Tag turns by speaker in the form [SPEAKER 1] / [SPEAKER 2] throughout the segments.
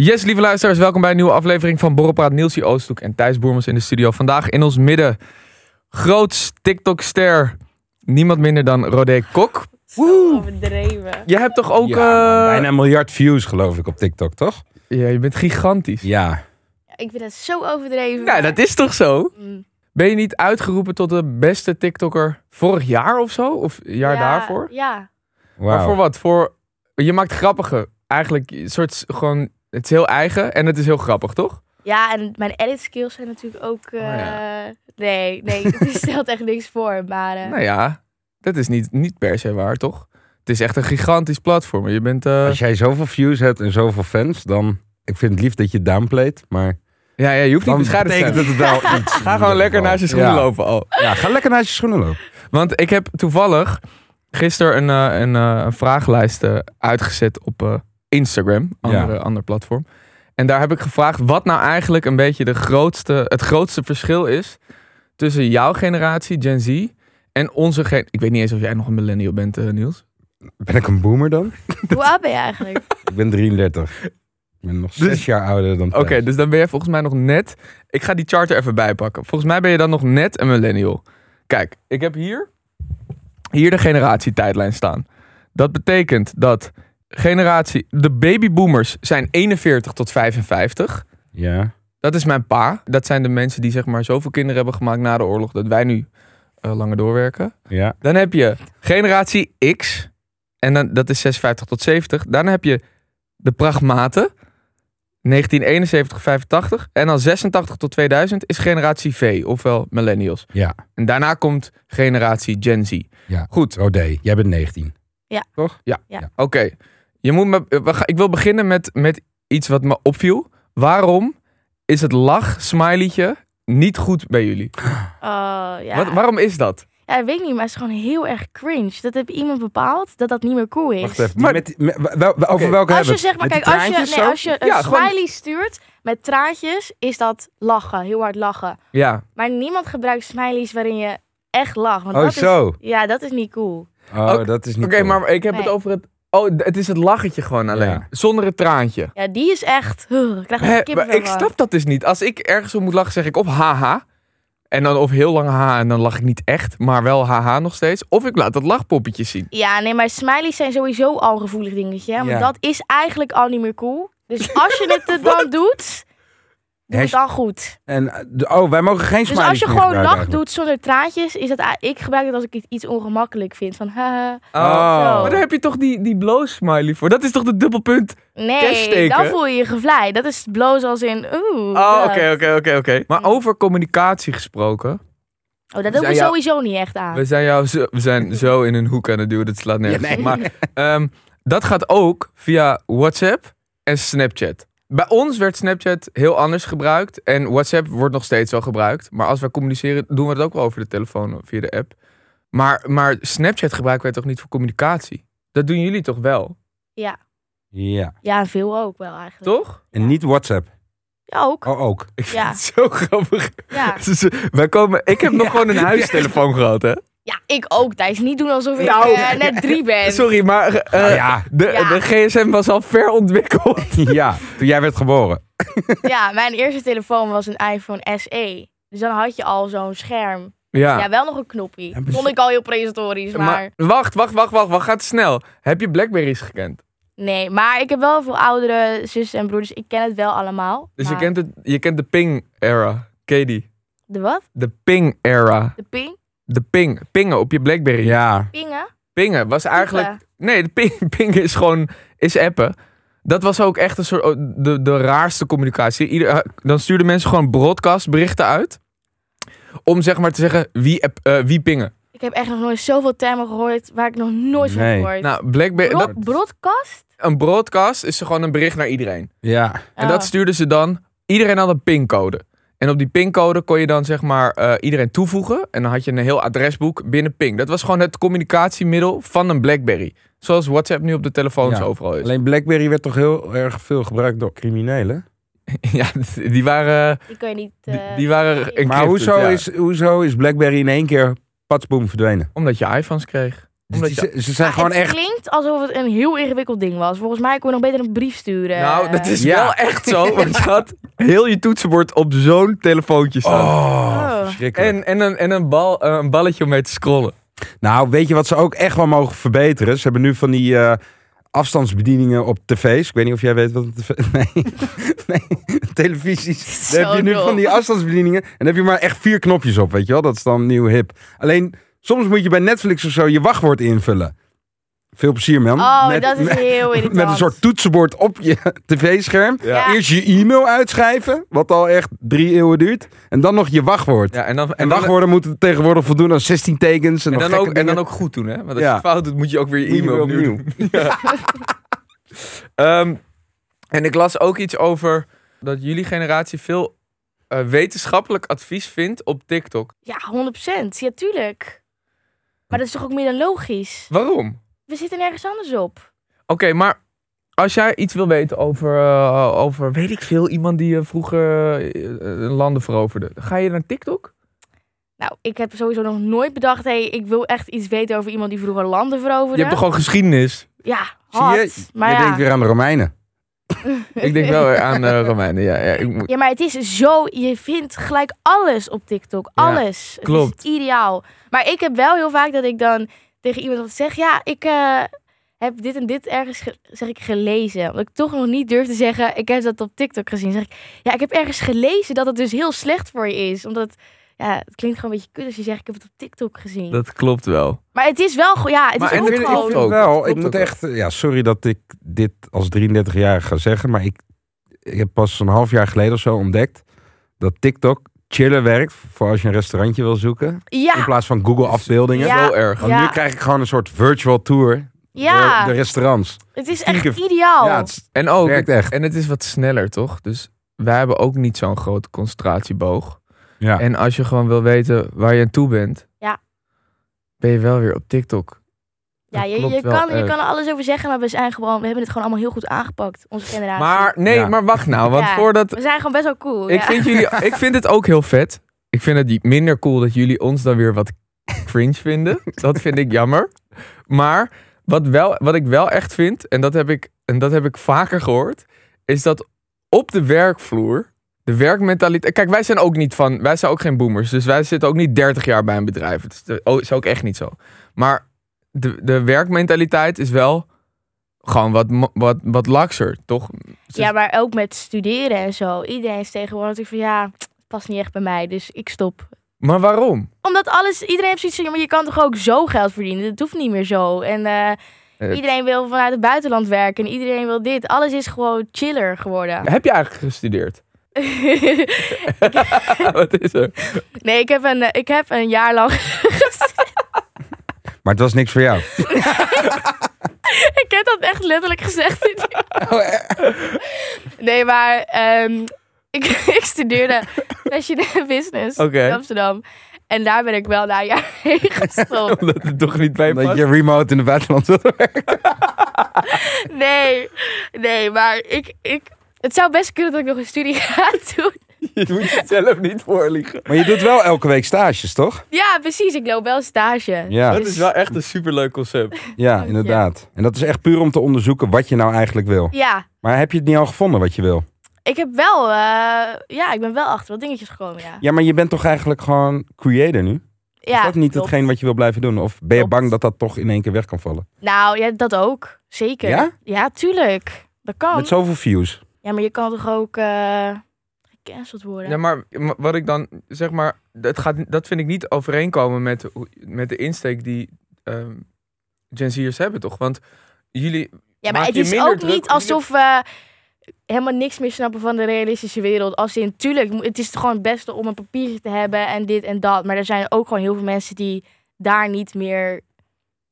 [SPEAKER 1] Yes, lieve luisteraars, welkom bij een nieuwe aflevering van Borrelpraat. Nielsie Oosthoek en Thijs Boermans in de studio. Vandaag in ons midden, groots TikTok-ster, niemand minder dan Rodé Kok. Woe!
[SPEAKER 2] overdreven.
[SPEAKER 1] Je hebt toch ook...
[SPEAKER 3] Ja,
[SPEAKER 1] eh,
[SPEAKER 3] man, bijna een miljard views geloof ik op TikTok, toch?
[SPEAKER 1] Ja, je bent gigantisch.
[SPEAKER 3] Ja.
[SPEAKER 2] Ik vind dat zo overdreven.
[SPEAKER 1] Nou, dat is toch zo?
[SPEAKER 2] Mm.
[SPEAKER 1] Ben je niet uitgeroepen tot de beste TikToker vorig jaar of zo? Of een jaar
[SPEAKER 2] Ja,
[SPEAKER 1] daarvoor?
[SPEAKER 2] Ja.
[SPEAKER 1] Maar voor
[SPEAKER 3] Wauw.
[SPEAKER 1] wat? Voor... Je maakt grappige, eigenlijk een soort gewoon... Het is heel eigen en het is heel grappig, toch?
[SPEAKER 2] Ja, en mijn edit skills zijn natuurlijk ook... eh,
[SPEAKER 1] Oh,
[SPEAKER 2] Nee, nee, het stelt echt niks voor. Maar eh,
[SPEAKER 1] Nou ja, dat is niet, niet per se waar, toch? Het is echt een gigantisch platform. Je bent... eh,
[SPEAKER 3] Als jij zoveel views hebt en zoveel fans, dan... Ik vind het lief dat je downplayt, maar...
[SPEAKER 1] Ja, ja, je hoeft niet
[SPEAKER 3] Dan
[SPEAKER 1] bescheiden te
[SPEAKER 3] betekent
[SPEAKER 1] zijn.
[SPEAKER 3] dat het wel iets.
[SPEAKER 1] Ga
[SPEAKER 3] in ieder
[SPEAKER 1] gewoon lekker
[SPEAKER 3] geval.
[SPEAKER 1] naar zijn schoenen
[SPEAKER 3] Ja.
[SPEAKER 1] lopen al.
[SPEAKER 3] Ja, ga lekker naar je schoenen lopen.
[SPEAKER 1] Want ik heb toevallig gisteren een, eh, een, eh, een vragenlijst eh, uitgezet op eh, Instagram, andere, ander platform. En daar heb ik gevraagd wat nou eigenlijk een beetje de grootste, het grootste verschil is tussen jouw generatie, Gen Z, en onze generatie. Ik weet niet eens of jij nog een millennial bent, eh, Niels.
[SPEAKER 3] Ben ik een boomer dan?
[SPEAKER 2] hoe oud ben je eigenlijk?
[SPEAKER 3] Ik ben 33. Ik ben nog zes
[SPEAKER 1] Dus-
[SPEAKER 3] jaar ouder dan
[SPEAKER 1] Oké, dus dan ben je volgens mij nog net. Ik ga die chart er even bij pakken. Volgens mij ben je dan nog net een millennial. Kijk, ik heb hier, hier de generatietijdlijn staan. Dat betekent dat generatie, de babyboomers zijn 41 tot 55.
[SPEAKER 3] Ja.
[SPEAKER 1] Dat is mijn pa. Dat zijn de mensen die zeg maar zoveel kinderen hebben gemaakt na de oorlog dat wij nu eh, langer doorwerken.
[SPEAKER 3] Ja.
[SPEAKER 1] Dan heb je generatie X. En dan, dat is 56 tot 70. Daarna heb je de pragmaten. 1971, 85. En dan 86 tot 2000 is generatie V, ofwel millennials.
[SPEAKER 3] Ja.
[SPEAKER 1] En daarna komt generatie Gen Z.
[SPEAKER 3] Ja.
[SPEAKER 1] Goed,
[SPEAKER 3] Rodé, Oh, jij bent 19.
[SPEAKER 1] oké. Je moet me- we gaan- Ik wil beginnen met, met iets wat me opviel. Waarom is het lach-smileytje niet goed bij jullie?
[SPEAKER 2] Oh, ja.
[SPEAKER 1] Wat, waarom is dat?
[SPEAKER 2] ja. Ik weet niet, maar het is gewoon heel erg cringe. Dat heb iemand bepaald dat dat niet meer cool is.
[SPEAKER 3] Wacht even. die
[SPEAKER 1] Maar-
[SPEAKER 3] met die- met- wel- wel- Over
[SPEAKER 1] Oké,
[SPEAKER 3] welke
[SPEAKER 2] Als je
[SPEAKER 3] hebben we
[SPEAKER 2] zeg maar,
[SPEAKER 3] het? Met
[SPEAKER 2] kijk,
[SPEAKER 3] die
[SPEAKER 2] als je,
[SPEAKER 3] traantjes
[SPEAKER 2] nee,
[SPEAKER 3] zo?
[SPEAKER 2] als je een
[SPEAKER 1] Ja, gewoon-
[SPEAKER 2] smiley stuurt met traantjes, is dat lachen. Heel hard lachen.
[SPEAKER 1] Ja,
[SPEAKER 2] Maar niemand gebruikt smileys waarin je echt lacht. Want
[SPEAKER 3] Oh,
[SPEAKER 2] dat is,
[SPEAKER 3] zo.
[SPEAKER 2] ja, dat is niet cool.
[SPEAKER 3] Oh, dat is niet
[SPEAKER 1] oké,
[SPEAKER 3] cool.
[SPEAKER 1] maar ik heb het
[SPEAKER 2] Nee.
[SPEAKER 1] over het... Oh, d- het is het lachetje gewoon alleen.
[SPEAKER 3] Ja.
[SPEAKER 1] Zonder het traantje.
[SPEAKER 2] Ja, die is echt. Huh, ik krijg er
[SPEAKER 1] Hè, maar
[SPEAKER 2] kippenvel
[SPEAKER 1] ik
[SPEAKER 2] van.
[SPEAKER 1] snap dat dus niet. Als ik ergens om moet lachen, zeg ik of haha. En dan of heel lang haha. En dan lach ik niet echt, maar wel haha nog steeds. Of ik laat dat lachpoppetje zien.
[SPEAKER 2] Ja, nee, maar smileys zijn sowieso al een gevoelig dingetje. hè, Want
[SPEAKER 3] Ja.
[SPEAKER 2] dat is eigenlijk al niet meer cool. Dus als je het er dan doet, doe het
[SPEAKER 3] Hash-
[SPEAKER 2] dan goed.
[SPEAKER 3] En, eh, de- oh, wij mogen geen
[SPEAKER 2] Dus
[SPEAKER 3] smileys
[SPEAKER 2] als je
[SPEAKER 3] meer
[SPEAKER 2] gewoon
[SPEAKER 3] gebruiken
[SPEAKER 2] lach
[SPEAKER 3] eigenlijk.
[SPEAKER 2] doet zonder traantjes, is dat. Ik gebruik het als ik iets ongemakkelijk vind. Van haha.
[SPEAKER 3] Oh.
[SPEAKER 1] Maar daar heb je toch die, die bloos smiley voor. Dat is toch de dubbelpunt?
[SPEAKER 2] Nee,
[SPEAKER 1] Kerststeken?
[SPEAKER 2] dan voel je je gevleid. Dat is bloos als in. Oeh. eh.
[SPEAKER 1] Oh,
[SPEAKER 2] dat.
[SPEAKER 1] oké, oké, oké, oké. Maar over communicatie gesproken.
[SPEAKER 2] Oh, dat doe ik
[SPEAKER 1] Zijn
[SPEAKER 2] me
[SPEAKER 1] jou-
[SPEAKER 2] sowieso niet echt aan.
[SPEAKER 1] Dus We zijn, jou zo, we zijn zo in een hoek aan het duwen. Dat slaat nergens
[SPEAKER 3] Ja, nee.
[SPEAKER 1] op. Maar ehm, dat gaat ook via WhatsApp en Snapchat. Bij ons werd Snapchat heel anders gebruikt. En WhatsApp wordt nog steeds wel gebruikt. Maar als wij communiceren, doen we het ook wel over de telefoon of via de app. Maar, maar Snapchat gebruiken wij toch niet voor communicatie? Dat doen jullie toch wel?
[SPEAKER 3] Ja.
[SPEAKER 2] Ja, veel ook wel eigenlijk.
[SPEAKER 1] Toch?
[SPEAKER 3] En niet WhatsApp.
[SPEAKER 2] Ja, ook.
[SPEAKER 3] Oh, ook.
[SPEAKER 1] Ik vind
[SPEAKER 2] Ja.
[SPEAKER 1] het zo grappig.
[SPEAKER 2] Ja.
[SPEAKER 1] Dus wij komen, ik heb nog gewoon een huistelefoon gehad, hè?
[SPEAKER 2] ja, ik ook, Thijs. Niet doen alsof ik
[SPEAKER 1] Nou.
[SPEAKER 2] eh, net drie ben.
[SPEAKER 1] Sorry, maar eh,
[SPEAKER 3] Nou ja.
[SPEAKER 1] de,
[SPEAKER 2] Ja.
[SPEAKER 1] de GSM was al ver ontwikkeld.
[SPEAKER 3] ja, toen jij werd geboren.
[SPEAKER 2] Ja, mijn eerste telefoon was een iPhone SE. Dus dan had je al zo'n scherm. Ja, wel nog een knoppie.
[SPEAKER 3] Ja,
[SPEAKER 2] Vond ik al heel prehistorisch, maar...
[SPEAKER 1] wacht, wacht, wacht, wacht, wacht. Gaat snel. Heb je Blackberries gekend?
[SPEAKER 2] Nee, maar ik heb wel veel oudere zussen en broeders. Ik ken het wel allemaal.
[SPEAKER 1] Dus
[SPEAKER 2] maar-
[SPEAKER 1] je, kent het, je kent de ping-era. Ken je die?
[SPEAKER 2] De wat?
[SPEAKER 1] De ping-era.
[SPEAKER 2] De ping?
[SPEAKER 1] De ping. Pingen op je Blackberry.
[SPEAKER 3] Ja.
[SPEAKER 2] Pingen?
[SPEAKER 1] Pingen was eigenlijk...
[SPEAKER 2] Piepen.
[SPEAKER 1] Nee, de ping, pingen is gewoon... Is appen. Dat was ook echt een soort... oh, De, de raarste communicatie. Ieder, eh, dan stuurden mensen gewoon broadcastberichten uit. Om zeg maar te zeggen wie, app- eh, wie pingen.
[SPEAKER 2] Ik heb echt nog nooit zoveel termen gehoord waar ik nog nooit van
[SPEAKER 3] Nee.
[SPEAKER 2] heb gehoord.
[SPEAKER 1] Nou, Blackberry...
[SPEAKER 2] Bro-
[SPEAKER 1] Dat,
[SPEAKER 2] broadcast?
[SPEAKER 1] een broadcast is gewoon een bericht naar iedereen.
[SPEAKER 3] Ja.
[SPEAKER 1] En dat
[SPEAKER 2] Oh.
[SPEAKER 1] stuurden ze dan iedereen had een pincode. En op die pincode kon je dan zeg maar eh, iedereen toevoegen. En dan had je een heel adresboek binnen ping. Dat was gewoon het communicatiemiddel van een Blackberry. Zoals WhatsApp nu op de telefoons
[SPEAKER 3] Ja.
[SPEAKER 1] overal is.
[SPEAKER 3] Alleen Blackberry werd toch heel erg veel gebruikt door criminelen?
[SPEAKER 1] ja, die waren,
[SPEAKER 2] Die kan je niet...
[SPEAKER 1] die,
[SPEAKER 2] eh,
[SPEAKER 1] die waren
[SPEAKER 2] Maar
[SPEAKER 1] encrypted,
[SPEAKER 3] Maar hoezo,
[SPEAKER 1] ja.
[SPEAKER 3] is, hoezo is Blackberry in één keer patsboom verdwenen?
[SPEAKER 1] Omdat je iPhones
[SPEAKER 3] Dus
[SPEAKER 1] kreeg. Omdat je...
[SPEAKER 3] Ze, ze zijn
[SPEAKER 2] ah,
[SPEAKER 3] gewoon
[SPEAKER 2] het
[SPEAKER 3] echt...
[SPEAKER 2] klinkt alsof het een heel ingewikkeld ding was. Volgens mij kon je nog beter een brief sturen.
[SPEAKER 1] Nou, dat is
[SPEAKER 3] Ja.
[SPEAKER 1] wel echt zo. Want je had heel je toetsenbord op zo'n telefoontje staan.
[SPEAKER 3] Oh,
[SPEAKER 2] Oh.
[SPEAKER 3] verschrikkelijk.
[SPEAKER 1] En, en, een, en een, bal, eh, een balletje om mee te scrollen.
[SPEAKER 3] Nou, weet je wat ze ook echt wel mogen verbeteren? Ze hebben nu van die eh, afstandsbedieningen op tv's. Ik weet niet of jij weet wat een tv... Nee, nee. televisies. Daar
[SPEAKER 2] Zo
[SPEAKER 3] heb je nu
[SPEAKER 2] dom.
[SPEAKER 3] van die afstandsbedieningen. En dan heb je maar echt vier knopjes op, weet je wel? Dat is dan nieuw hip. Alleen, soms moet je bij Netflix of zo je wachtwoord invullen. Veel plezier, man.
[SPEAKER 2] Oh,
[SPEAKER 3] Met-
[SPEAKER 2] dat is
[SPEAKER 3] met-
[SPEAKER 2] heel irritant.
[SPEAKER 3] Met een soort toetsenbord op je tv-scherm.
[SPEAKER 2] Ja.
[SPEAKER 3] Eerst je e-mail uitschrijven, wat al echt drie eeuwen duurt. En dan nog je wachtwoord.
[SPEAKER 1] Ja, en dan, en dan,
[SPEAKER 3] En wachtwoorden moeten tegenwoordig voldoen aan 16 tekens. En,
[SPEAKER 1] en
[SPEAKER 3] nog
[SPEAKER 1] dan, ook,
[SPEAKER 3] gekke
[SPEAKER 1] en dan
[SPEAKER 3] dingen.
[SPEAKER 1] ook goed doen, hè? Want als
[SPEAKER 3] Ja.
[SPEAKER 1] je fout doet, moet je ook weer je
[SPEAKER 3] Moet je
[SPEAKER 1] e-mail
[SPEAKER 3] weer
[SPEAKER 1] opnieuw doen. Ehm, en ik las ook iets over dat jullie generatie veel eh, wetenschappelijk advies vindt op TikTok.
[SPEAKER 2] Ja, 100%. Ja, tuurlijk. Maar dat is toch ook meer dan logisch?
[SPEAKER 1] Waarom? Oké,
[SPEAKER 2] We zitten nergens anders op.
[SPEAKER 1] maar als jij iets wil weten over, eh, over weet ik veel, iemand die eh, vroeger eh, landen veroverde, ga je naar TikTok?
[SPEAKER 2] Nou, ik heb sowieso nog nooit bedacht... hé, hey, ik wil echt iets weten over iemand die vroeger landen
[SPEAKER 1] Je
[SPEAKER 2] veroverde.
[SPEAKER 1] hebt toch gewoon geschiedenis?
[SPEAKER 2] Ja,
[SPEAKER 3] Zie
[SPEAKER 2] hard.
[SPEAKER 3] je?
[SPEAKER 2] Maar
[SPEAKER 3] je
[SPEAKER 2] ja.
[SPEAKER 3] denkt weer aan de Romeinen.
[SPEAKER 1] Ik denk wel weer aan eh, Romeinen. Ja, ja, ik, moet-
[SPEAKER 2] Ja, maar het is zo, je vindt gelijk alles op TikTok.
[SPEAKER 1] Ja,
[SPEAKER 2] Alles. Het
[SPEAKER 1] klopt.
[SPEAKER 2] is ideaal. Maar ik heb wel heel vaak dat ik dan tegen iemand wat zeg, ja, ik eh, heb dit en dit ergens ge- zeg ik, gelezen. Omdat ik toch nog niet durf te zeggen, ik heb dat op TikTok gezien. Zeg ik, ja, ik heb ergens gelezen dat het dus heel slecht voor je is. Omdat, ja, het klinkt gewoon een beetje kut als je zegt, ik heb het op TikTok gezien.
[SPEAKER 1] dat klopt wel.
[SPEAKER 2] Maar het is wel, go- ja, het
[SPEAKER 1] Maar
[SPEAKER 2] is
[SPEAKER 1] en
[SPEAKER 2] ook
[SPEAKER 1] vind- ik
[SPEAKER 2] gewoon...
[SPEAKER 1] vind- ook. Dat
[SPEAKER 3] wel,
[SPEAKER 1] klopt
[SPEAKER 3] Oh, ik moet
[SPEAKER 1] ook
[SPEAKER 3] echt... Ja, sorry dat ik dit als 33-jarige ga zeggen. Maar ik, ik heb pas een half jaar geleden of zo ontdekt... dat TikTok chiller werkt voor als je een restaurantje wil zoeken. In
[SPEAKER 2] Ja,
[SPEAKER 3] plaats van Google afbeeldingen.
[SPEAKER 2] Ja.
[SPEAKER 1] Zo erg.
[SPEAKER 3] Want nu
[SPEAKER 2] Ja.
[SPEAKER 3] krijg ik gewoon een soort virtual tour
[SPEAKER 2] ja, Oh.
[SPEAKER 3] door de restaurants.
[SPEAKER 2] het is echt
[SPEAKER 3] stiekem-
[SPEAKER 2] ideaal.
[SPEAKER 3] Ja, het is-
[SPEAKER 1] En ook,
[SPEAKER 3] Werkt echt.
[SPEAKER 1] en het is wat sneller, toch? Dus wij hebben ook niet zo'n grote concentratieboog.
[SPEAKER 3] ja.
[SPEAKER 1] En als je gewoon wil weten waar je aan toe bent,
[SPEAKER 2] Ja.
[SPEAKER 1] ben je wel weer op TikTok.
[SPEAKER 2] Ja,
[SPEAKER 1] Dat
[SPEAKER 2] je, je,
[SPEAKER 1] klopt wel
[SPEAKER 2] kan, je
[SPEAKER 1] erg.
[SPEAKER 2] kan er alles over zeggen, maar we, zijn gewoon, we hebben het gewoon allemaal heel goed aangepakt, onze generatie.
[SPEAKER 1] Maar nee,
[SPEAKER 3] Ja.
[SPEAKER 1] maar wacht nou, want
[SPEAKER 2] Ja.
[SPEAKER 1] voordat
[SPEAKER 2] we zijn gewoon best wel cool.
[SPEAKER 1] ik
[SPEAKER 2] ja.
[SPEAKER 1] vind jullie, ik vind het ook heel vet. Ik vind het minder cool dat jullie ons dan weer wat cringe vinden. Dat vind ik jammer. Maar wat, wel, wat ik wel echt vind, en dat, heb ik, en dat heb ik vaker gehoord, is dat op de werkvloer, de werkmentaliteit. Kijk, wij zijn ook niet van, wij zijn ook geen boomers. Dus wij zitten ook niet 30 jaar bij een bedrijf. Het is, de- oh, is ook echt niet zo. Maar de, de werkmentaliteit is wel gewoon wat, mo- wat, wat lakser, toch?
[SPEAKER 2] ja, maar ook met studeren en zo. Iedereen is tegenwoordig van ja, het past niet echt bij mij, dus ik stop.
[SPEAKER 1] Maar waarom?
[SPEAKER 2] Omdat alles, iedereen heeft zoiets van, ja, maar je kan toch ook zo geld verdienen? Dat hoeft niet meer zo. En eh,
[SPEAKER 1] Eh.
[SPEAKER 2] iedereen wil vanuit het buitenland werken en iedereen wil dit. Alles is gewoon chiller geworden.
[SPEAKER 1] Heb je eigenlijk gestudeerd? Wat is er?
[SPEAKER 2] nee, ik heb, een, eh, ik heb een jaar lang
[SPEAKER 3] Maar het was niks voor jou.
[SPEAKER 2] Ik heb dat echt letterlijk gezegd. nee, maar ehm, ik, ik studeerde fashion en business
[SPEAKER 1] Oké.
[SPEAKER 2] in Amsterdam. En daar ben ik wel na een jaar heen gestopt.
[SPEAKER 1] Omdat het toch niet bij
[SPEAKER 3] Dat
[SPEAKER 1] past?
[SPEAKER 3] je remote in het buitenland wil werken.
[SPEAKER 2] Nee, nee, maar ik, ik, het zou best kunnen dat ik nog een studie ga doen.
[SPEAKER 1] Je moet jezelf niet voorliegen.
[SPEAKER 3] Maar je doet wel elke week stages, toch?
[SPEAKER 2] Ja, precies. Ik loop wel stage. Dus
[SPEAKER 3] Ja,
[SPEAKER 1] Dat is wel echt een superleuk concept.
[SPEAKER 3] ja inderdaad. En dat is echt puur om te onderzoeken wat je nou eigenlijk wil.
[SPEAKER 2] Ja,
[SPEAKER 3] Maar heb je het niet al gevonden wat je wil?
[SPEAKER 2] ik heb wel, eh, ja, ik ben wel achter wat dingetjes gekomen, ja.
[SPEAKER 3] Ja, maar je bent toch eigenlijk gewoon creator nu?
[SPEAKER 2] ja
[SPEAKER 3] is dat niet
[SPEAKER 2] klopt.
[SPEAKER 3] hetgeen wat je wil blijven doen? Of ben je
[SPEAKER 2] Klopt.
[SPEAKER 3] bang dat dat toch in één keer weg kan vallen?
[SPEAKER 2] Nou, ja, dat ook. Zeker.
[SPEAKER 3] Ja?
[SPEAKER 2] Ja, tuurlijk. Dat kan.
[SPEAKER 3] Met zoveel views.
[SPEAKER 2] Ja, maar je kan toch ook eh, gecanceld worden?
[SPEAKER 1] Ja, maar maar wat ik dan zeg maar, dat, gaat, dat vind ik niet overeenkomen met, hoe- met de insteek die ehm Gen Z'ers hebben, toch? Want jullie.
[SPEAKER 2] Ja,
[SPEAKER 1] maak
[SPEAKER 2] maar het
[SPEAKER 1] je
[SPEAKER 2] is
[SPEAKER 1] minder
[SPEAKER 2] ook
[SPEAKER 1] druk
[SPEAKER 2] niet
[SPEAKER 1] om je-
[SPEAKER 2] alsof we helemaal niks meer snappen van de realistische wereld. Als in, tuurlijk, mo- het is gewoon het beste om een papiertje te hebben en dit en dat. Maar er zijn ook gewoon heel veel mensen die daar niet meer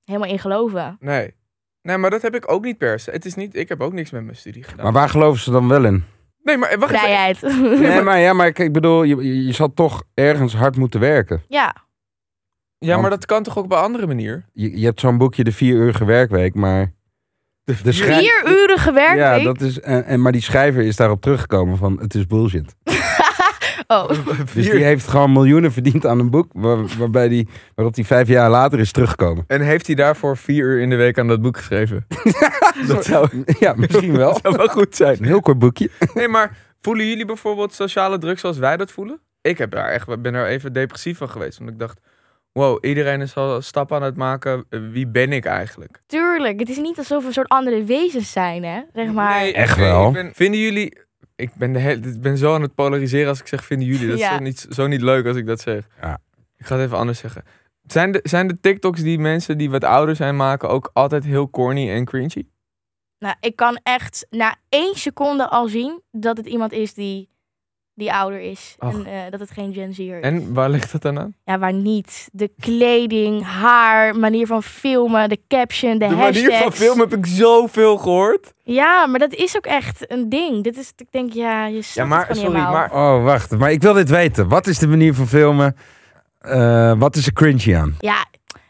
[SPEAKER 2] helemaal in geloven.
[SPEAKER 1] Nee. Nee, maar dat heb ik ook niet per se. Het is niet, ik heb ook niks met mijn studie gedaan.
[SPEAKER 3] Maar waar geloven ze dan wel in?
[SPEAKER 1] Nee, maar wacht even.
[SPEAKER 2] vrijheid.
[SPEAKER 3] Nee, maar ja, maar kijk, ik bedoel, je, je je zal toch ergens hard moeten werken.
[SPEAKER 2] ja,
[SPEAKER 1] Ja, maar dat kan toch ook op een andere manier?
[SPEAKER 3] Je, je hebt zo'n boekje, de vier uurige werkweek, maar... De, schrijver-
[SPEAKER 2] vier uren gewerkt.
[SPEAKER 3] Ja, dat is, en, en- maar die schrijver is daarop teruggekomen van, het is bullshit.
[SPEAKER 2] Oh,
[SPEAKER 3] Dus die heeft gewoon miljoenen verdiend aan een boek, waar- waarbij die, waarop die vijf jaar later is teruggekomen.
[SPEAKER 1] En heeft hij daarvoor vier uur in de week aan dat boek geschreven?
[SPEAKER 3] Dat zou, ja, misschien wel.
[SPEAKER 1] Dat zou wel goed zijn.
[SPEAKER 3] Een heel kort boekje.
[SPEAKER 1] Nee, maar voelen jullie bijvoorbeeld sociale druk zoals wij dat voelen? Ik heb daar echt, ben daar even depressief van geweest. Want ik dacht, wow, iedereen is al stap aan het maken. Eh, Wie ben ik eigenlijk?
[SPEAKER 2] tuurlijk. Het is niet alsof we een soort andere wezens zijn, hè? Zeg maar.
[SPEAKER 1] Nee,
[SPEAKER 3] Echt
[SPEAKER 1] oké,
[SPEAKER 3] wel.
[SPEAKER 1] ik ben- vinden jullie... Ik ben, de hele, ik ben zo aan het polariseren als ik zeg vinden jullie. Dat
[SPEAKER 2] Ja.
[SPEAKER 1] is zo niet, zo niet leuk als ik dat zeg.
[SPEAKER 3] Ja.
[SPEAKER 1] Ik ga het even anders zeggen. Zijn de, zijn de TikToks die mensen die wat ouder zijn maken ook altijd heel corny en cringy?
[SPEAKER 2] Nou, ik kan echt na één seconde al zien dat het iemand is die, die ouder is.
[SPEAKER 1] Och.
[SPEAKER 2] En eh, dat het geen Gen Z'er is.
[SPEAKER 1] En waar ligt dat dan aan?
[SPEAKER 2] Ja, waar niet. De kleding, haar, manier van filmen, de caption, de,
[SPEAKER 1] De
[SPEAKER 2] hashtags.
[SPEAKER 1] manier van film heb ik zoveel gehoord.
[SPEAKER 2] Ja, maar dat is ook echt een ding. Dit is, ik denk, ja, je snapt
[SPEAKER 1] maar-
[SPEAKER 2] het gewoon
[SPEAKER 1] sorry,
[SPEAKER 2] helemaal.
[SPEAKER 1] maar-
[SPEAKER 3] Oh, wacht. Maar ik wil dit weten. Wat is de manier van filmen? Eh, wat is er cringy aan?
[SPEAKER 2] Ja,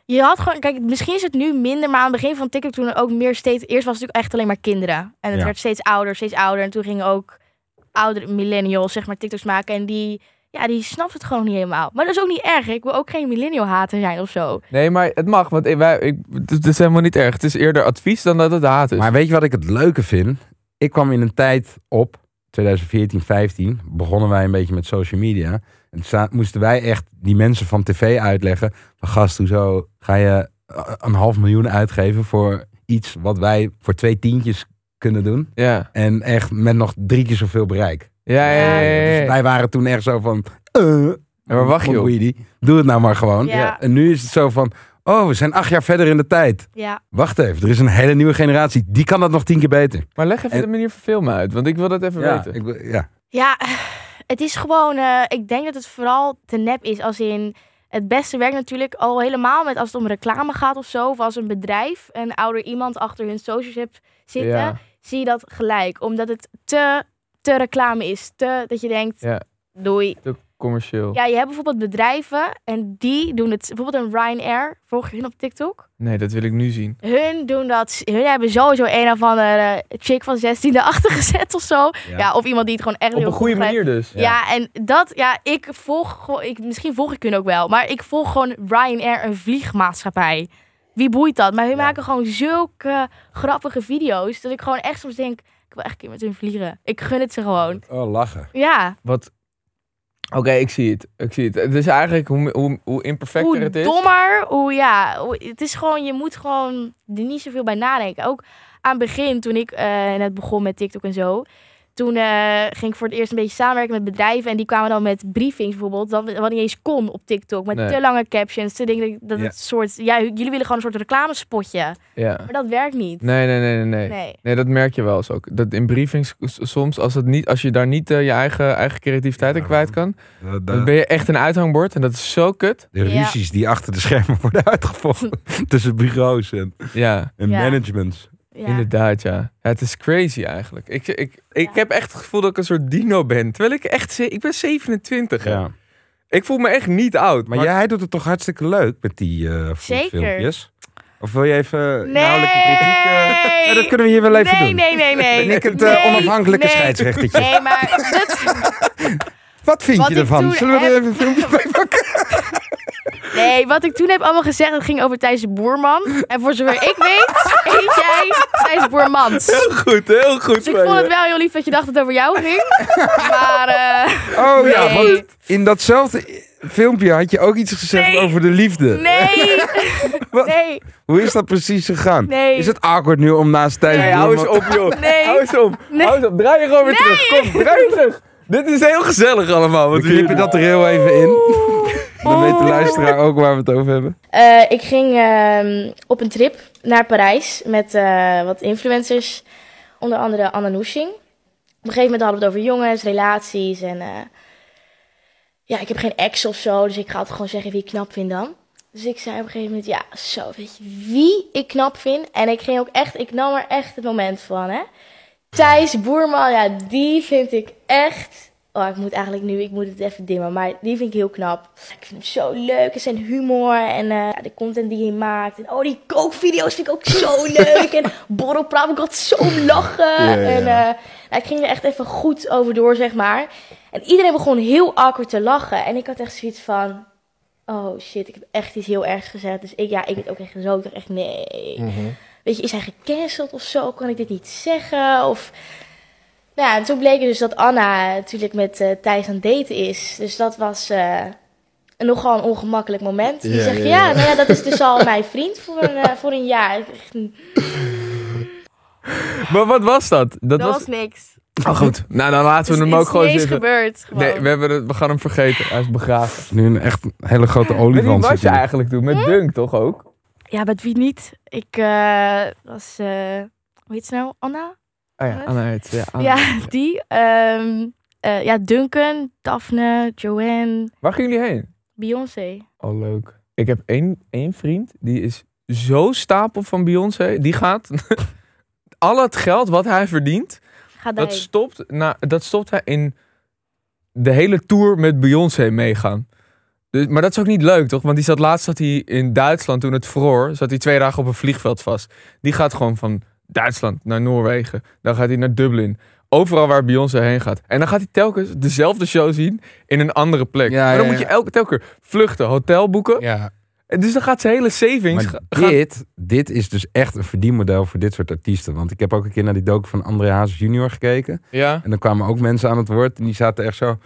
[SPEAKER 2] je had gewoon... Kijk, misschien is het nu minder, maar aan het begin van TikTok toen er ook meer steeds... Eerst was het natuurlijk echt alleen maar kinderen. En het
[SPEAKER 3] Ja.
[SPEAKER 2] werd steeds ouder, steeds ouder. En toen gingen ook oudere millennials, zeg maar, TikToks maken. En die, ja, die snapt het gewoon niet helemaal. Maar dat is ook niet erg. Ik wil ook geen millennial-hater zijn of zo.
[SPEAKER 1] Nee, maar het mag, want ik- wij, ik, het is helemaal niet erg. Het is eerder advies dan dat het haat is.
[SPEAKER 3] Maar weet je wat ik het leuke vind? Ik kwam in een tijd op, 2014, 15, begonnen wij een beetje met social media. En sta- moesten wij echt die mensen van tv uitleggen. Van gast, hoezo ga je eh, een half miljoen uitgeven voor iets wat wij voor twee tientjes kunnen doen?
[SPEAKER 1] ja.
[SPEAKER 3] En echt met nog drie keer zoveel bereik.
[SPEAKER 1] Ja, ja, ja, ja, ja.
[SPEAKER 3] Dus wij waren toen echt zo van... eh,
[SPEAKER 1] Ja, maar wacht,
[SPEAKER 3] wat
[SPEAKER 1] joh.
[SPEAKER 3] doe je die? Doe het nou maar gewoon.
[SPEAKER 2] Ja.
[SPEAKER 3] En nu is het zo van... Oh, we zijn acht jaar verder in de tijd.
[SPEAKER 2] Ja,
[SPEAKER 3] Wacht even, er is een hele nieuwe generatie. Die kan dat nog tien keer beter.
[SPEAKER 1] Maar leg even
[SPEAKER 3] En-
[SPEAKER 1] de manier van filmen uit, want ik wil dat even weten.
[SPEAKER 3] ik, wil- ja.
[SPEAKER 2] ja het is gewoon... eh, ik denk dat het vooral te nep is, als in... Het beste werkt natuurlijk al helemaal met als het om reclame gaat of zo. Of als een bedrijf een ouder iemand achter hun socials hebt zitten.
[SPEAKER 1] ja.
[SPEAKER 2] zie je dat gelijk. Omdat het te, te reclame is. Te, dat je denkt,
[SPEAKER 1] Ja.
[SPEAKER 2] doei.
[SPEAKER 1] Te commercieel.
[SPEAKER 2] Ja, je hebt bijvoorbeeld bedrijven en die doen het. Bijvoorbeeld een Ryanair, volg je hun op TikTok?
[SPEAKER 1] Nee, dat wil ik nu zien.
[SPEAKER 2] Hun doen dat. Hun hebben sowieso een of andere chick van 16 erachter gezet of zo. Ja, of iemand die het gewoon echt
[SPEAKER 1] Op
[SPEAKER 2] heel
[SPEAKER 1] een
[SPEAKER 2] goed
[SPEAKER 1] goede
[SPEAKER 2] begrijpt.
[SPEAKER 1] manier dus.
[SPEAKER 2] Ja. en dat, ja, ik volg gewoon, ik, misschien volg ik hun ook wel, maar ik volg gewoon Ryanair, een vliegmaatschappij. Wie boeit dat? Maar hun maken gewoon zulke grappige video's dat ik gewoon echt soms denk, ik wil echt een keer met hun vliegen. Ik gun het ze gewoon.
[SPEAKER 3] Oh, lachen.
[SPEAKER 2] Ja,
[SPEAKER 1] Wat... Oké, ik zie het. Ik zie het. Het is eigenlijk hoe, hoe, hoe imperfecter
[SPEAKER 2] hoe
[SPEAKER 1] het is.
[SPEAKER 2] dommer, hoe ja, hoe- het is gewoon, je moet gewoon er niet zoveel bij nadenken. Ook aan het begin, toen ik eh, net begon met TikTok en zo, toen eh, ging ik voor het eerst een beetje samenwerken met bedrijven. En die kwamen dan met briefings bijvoorbeeld. Dat, wat niet eens kon op TikTok. Met
[SPEAKER 1] Nee.
[SPEAKER 2] te lange captions. Te dingen dat- dat
[SPEAKER 3] Ja.
[SPEAKER 2] het soort. Ja, jullie willen gewoon een soort reclamespotje.
[SPEAKER 1] Ja.
[SPEAKER 2] Maar dat werkt niet.
[SPEAKER 1] Nee, nee, nee, nee, nee.
[SPEAKER 2] Nee.
[SPEAKER 1] Nee, dat merk je wel eens ook. Dat in briefings s- soms, als, het niet, als je daar niet eh, je eigen, eigen creativiteit in
[SPEAKER 3] Ja,
[SPEAKER 1] kwijt kan,
[SPEAKER 3] De,
[SPEAKER 1] dan ben
[SPEAKER 3] de,
[SPEAKER 1] je echt een uithangbord en dat is zo kut.
[SPEAKER 3] de
[SPEAKER 2] Ja.
[SPEAKER 3] ruzies die achter de schermen worden uitgevochten. tussen bureaus en,
[SPEAKER 1] Ja.
[SPEAKER 3] en
[SPEAKER 2] Ja.
[SPEAKER 3] managements.
[SPEAKER 2] Ja.
[SPEAKER 1] Inderdaad, ja. Ja, Het is crazy eigenlijk. Ik, ik, ik
[SPEAKER 2] Ja.
[SPEAKER 1] heb echt het gevoel dat ik een soort dino ben. Terwijl ik echt... ze- Ik ben 27. hè. Ik voel me echt niet oud.
[SPEAKER 3] Maar, jij hij doet het toch hartstikke leuk met die eh
[SPEAKER 2] Zeker.
[SPEAKER 3] filmpjes? Of wil je even
[SPEAKER 2] Nee.
[SPEAKER 3] inhoudelijke kritiek? eh? Ja, dat kunnen we hier wel even
[SPEAKER 2] nee,
[SPEAKER 3] doen.
[SPEAKER 2] nee, nee, nee.
[SPEAKER 3] Ben ik het eh,
[SPEAKER 2] Nee,
[SPEAKER 3] onafhankelijke
[SPEAKER 2] nee.
[SPEAKER 3] scheidsrechtertje?
[SPEAKER 2] Nee, maar dat,
[SPEAKER 3] Wat vind
[SPEAKER 2] Wat
[SPEAKER 3] je
[SPEAKER 2] ik
[SPEAKER 3] ervan?
[SPEAKER 2] toen
[SPEAKER 3] Zullen we er
[SPEAKER 2] heb-
[SPEAKER 3] even een filmpje bij pakken?
[SPEAKER 2] nee, wat ik toen heb allemaal gezegd, dat ging over Thijs de Boerman. En voor zover ik weet, eet jij Thijs Boermans.
[SPEAKER 1] Heel goed, heel goed.
[SPEAKER 2] Dus ik
[SPEAKER 1] van
[SPEAKER 2] vond het
[SPEAKER 1] je.
[SPEAKER 2] wel heel lief dat je dacht dat het over jou ging. Maar eh,
[SPEAKER 3] Oh ja,
[SPEAKER 2] Nee.
[SPEAKER 3] want in datzelfde filmpje had je ook iets gezegd
[SPEAKER 2] Nee.
[SPEAKER 3] over de liefde.
[SPEAKER 2] nee.
[SPEAKER 3] Wat?
[SPEAKER 2] Nee,
[SPEAKER 3] Hoe is dat precies gegaan?
[SPEAKER 2] Nee.
[SPEAKER 3] Is het awkward nu om naast Thijs
[SPEAKER 1] Nee,
[SPEAKER 3] te
[SPEAKER 1] hou
[SPEAKER 3] doen,
[SPEAKER 1] eens
[SPEAKER 3] want-
[SPEAKER 1] op, joh.
[SPEAKER 2] Nee.
[SPEAKER 3] Oh,
[SPEAKER 1] Hou eens op.
[SPEAKER 2] Nee.
[SPEAKER 1] Hou eens op. Draai je gewoon weer terug. Kom, draai je terug. Dit is heel gezellig allemaal.
[SPEAKER 3] We
[SPEAKER 1] Wat
[SPEAKER 3] knippen dat er heel even in. Dan weet de
[SPEAKER 1] Oh.
[SPEAKER 3] luisteraar ook waar we het over hebben.
[SPEAKER 2] Eh, ik ging ehm, op een trip naar Parijs met eh, wat influencers, onder andere Anna Noeshing. Op een gegeven moment hadden we het over jongens, relaties en eh, ja, ik heb geen ex of zo, dus ik ga altijd gewoon zeggen wie ik knap vind dan. Dus ik zei op een gegeven moment, ja, zo, weet je wie ik knap vind? En ik ging ook echt, ik nam er echt het moment van, hè.
[SPEAKER 4] Thijs Boerman, ja, die vind ik echt... Oh, ik moet eigenlijk nu, ik moet het even dimmen, maar die vind ik heel knap. Ik vind hem zo leuk en zijn humor en eh, ja, de content die hij maakt. En, oh, die kookvideo's vind ik ook zo leuk. En borrelpraat, ik had zo om lachen.
[SPEAKER 5] Ja, ja,
[SPEAKER 4] En
[SPEAKER 5] ja.
[SPEAKER 4] eh, nou, ik ging er echt even goed over door, zeg maar. En iedereen begon heel awkward te lachen. En ik had echt zoiets van, oh shit, ik heb echt iets heel ergs gezegd. Dus ik, ja, ik werd ook echt zo, ik dacht echt, nee.
[SPEAKER 5] Mhm.
[SPEAKER 4] Weet je, is hij gecanceld of zo? Kan ik dit niet zeggen? Of... Nou ja, en toen bleek dus dat Anna natuurlijk met eh, Thijs aan het daten is. Dus dat was eh, een nogal een ongemakkelijk moment. Die
[SPEAKER 5] Ja,
[SPEAKER 4] zegt,
[SPEAKER 5] ja,
[SPEAKER 4] ja,
[SPEAKER 5] ja.
[SPEAKER 4] nou ja, dat is dus al mijn vriend voor een, eh, voor een jaar. Ik dacht,
[SPEAKER 1] Maar wat was dat? Dat,
[SPEAKER 2] Dat was niks.
[SPEAKER 1] Oh, goed. Nou, dan laten we
[SPEAKER 2] Dus
[SPEAKER 1] hem
[SPEAKER 2] is
[SPEAKER 1] ook gewoon
[SPEAKER 2] niks
[SPEAKER 1] zitten.
[SPEAKER 2] gebeurd. Gewoon.
[SPEAKER 1] Nee, we, hebben het, we gaan hem vergeten. Hij is begraven.
[SPEAKER 3] Het is nu een echt een hele grote
[SPEAKER 1] Met wie
[SPEAKER 3] olifant.
[SPEAKER 1] was je
[SPEAKER 3] zit hier.
[SPEAKER 1] eigenlijk toen? Met Dunk toch ook?
[SPEAKER 2] Ja, met wie niet? Ik eh, was, eh, hoe heet ze nou? Anna?
[SPEAKER 1] Oh
[SPEAKER 2] ja,
[SPEAKER 1] Anna heet Ja,
[SPEAKER 2] Ja, die. ehm, eh, ja, Duncan, Daphne, Joanne,
[SPEAKER 1] Waar gingen jullie heen?
[SPEAKER 2] Beyoncé.
[SPEAKER 1] Oh, leuk. Ik heb één, één vriend, die is zo stapel van Beyoncé. Die gaat al het geld wat hij verdient,
[SPEAKER 2] Ga
[SPEAKER 1] dat
[SPEAKER 2] daarheen.
[SPEAKER 1] stopt, na, dat stopt hij in de hele tour met Beyoncé meegaan. Dus, maar dat is ook niet leuk, toch? Want die zat laatst zat hij in Duitsland toen het vroor. Zat hij twee dagen op een vliegveld vast. Die gaat gewoon van Duitsland naar Noorwegen. Dan gaat hij naar Dublin. Overal waar Beyoncé heen gaat. En dan gaat hij telkens dezelfde show zien in een andere plek.
[SPEAKER 3] Ja,
[SPEAKER 1] maar dan
[SPEAKER 3] ja,
[SPEAKER 1] moet je
[SPEAKER 3] ja.
[SPEAKER 1] elke telkens vluchten, hotel boeken.
[SPEAKER 3] Ja,
[SPEAKER 1] En dus dan gaat zijn hele savings.
[SPEAKER 3] maar
[SPEAKER 1] ga- gaan-
[SPEAKER 3] dit, dit is dus echt een verdienmodel voor dit soort artiesten. Want ik heb ook een keer naar die docu van André Hazes junior gekeken.
[SPEAKER 1] ja.
[SPEAKER 3] En dan kwamen ook mensen aan het woord en die zaten echt zo...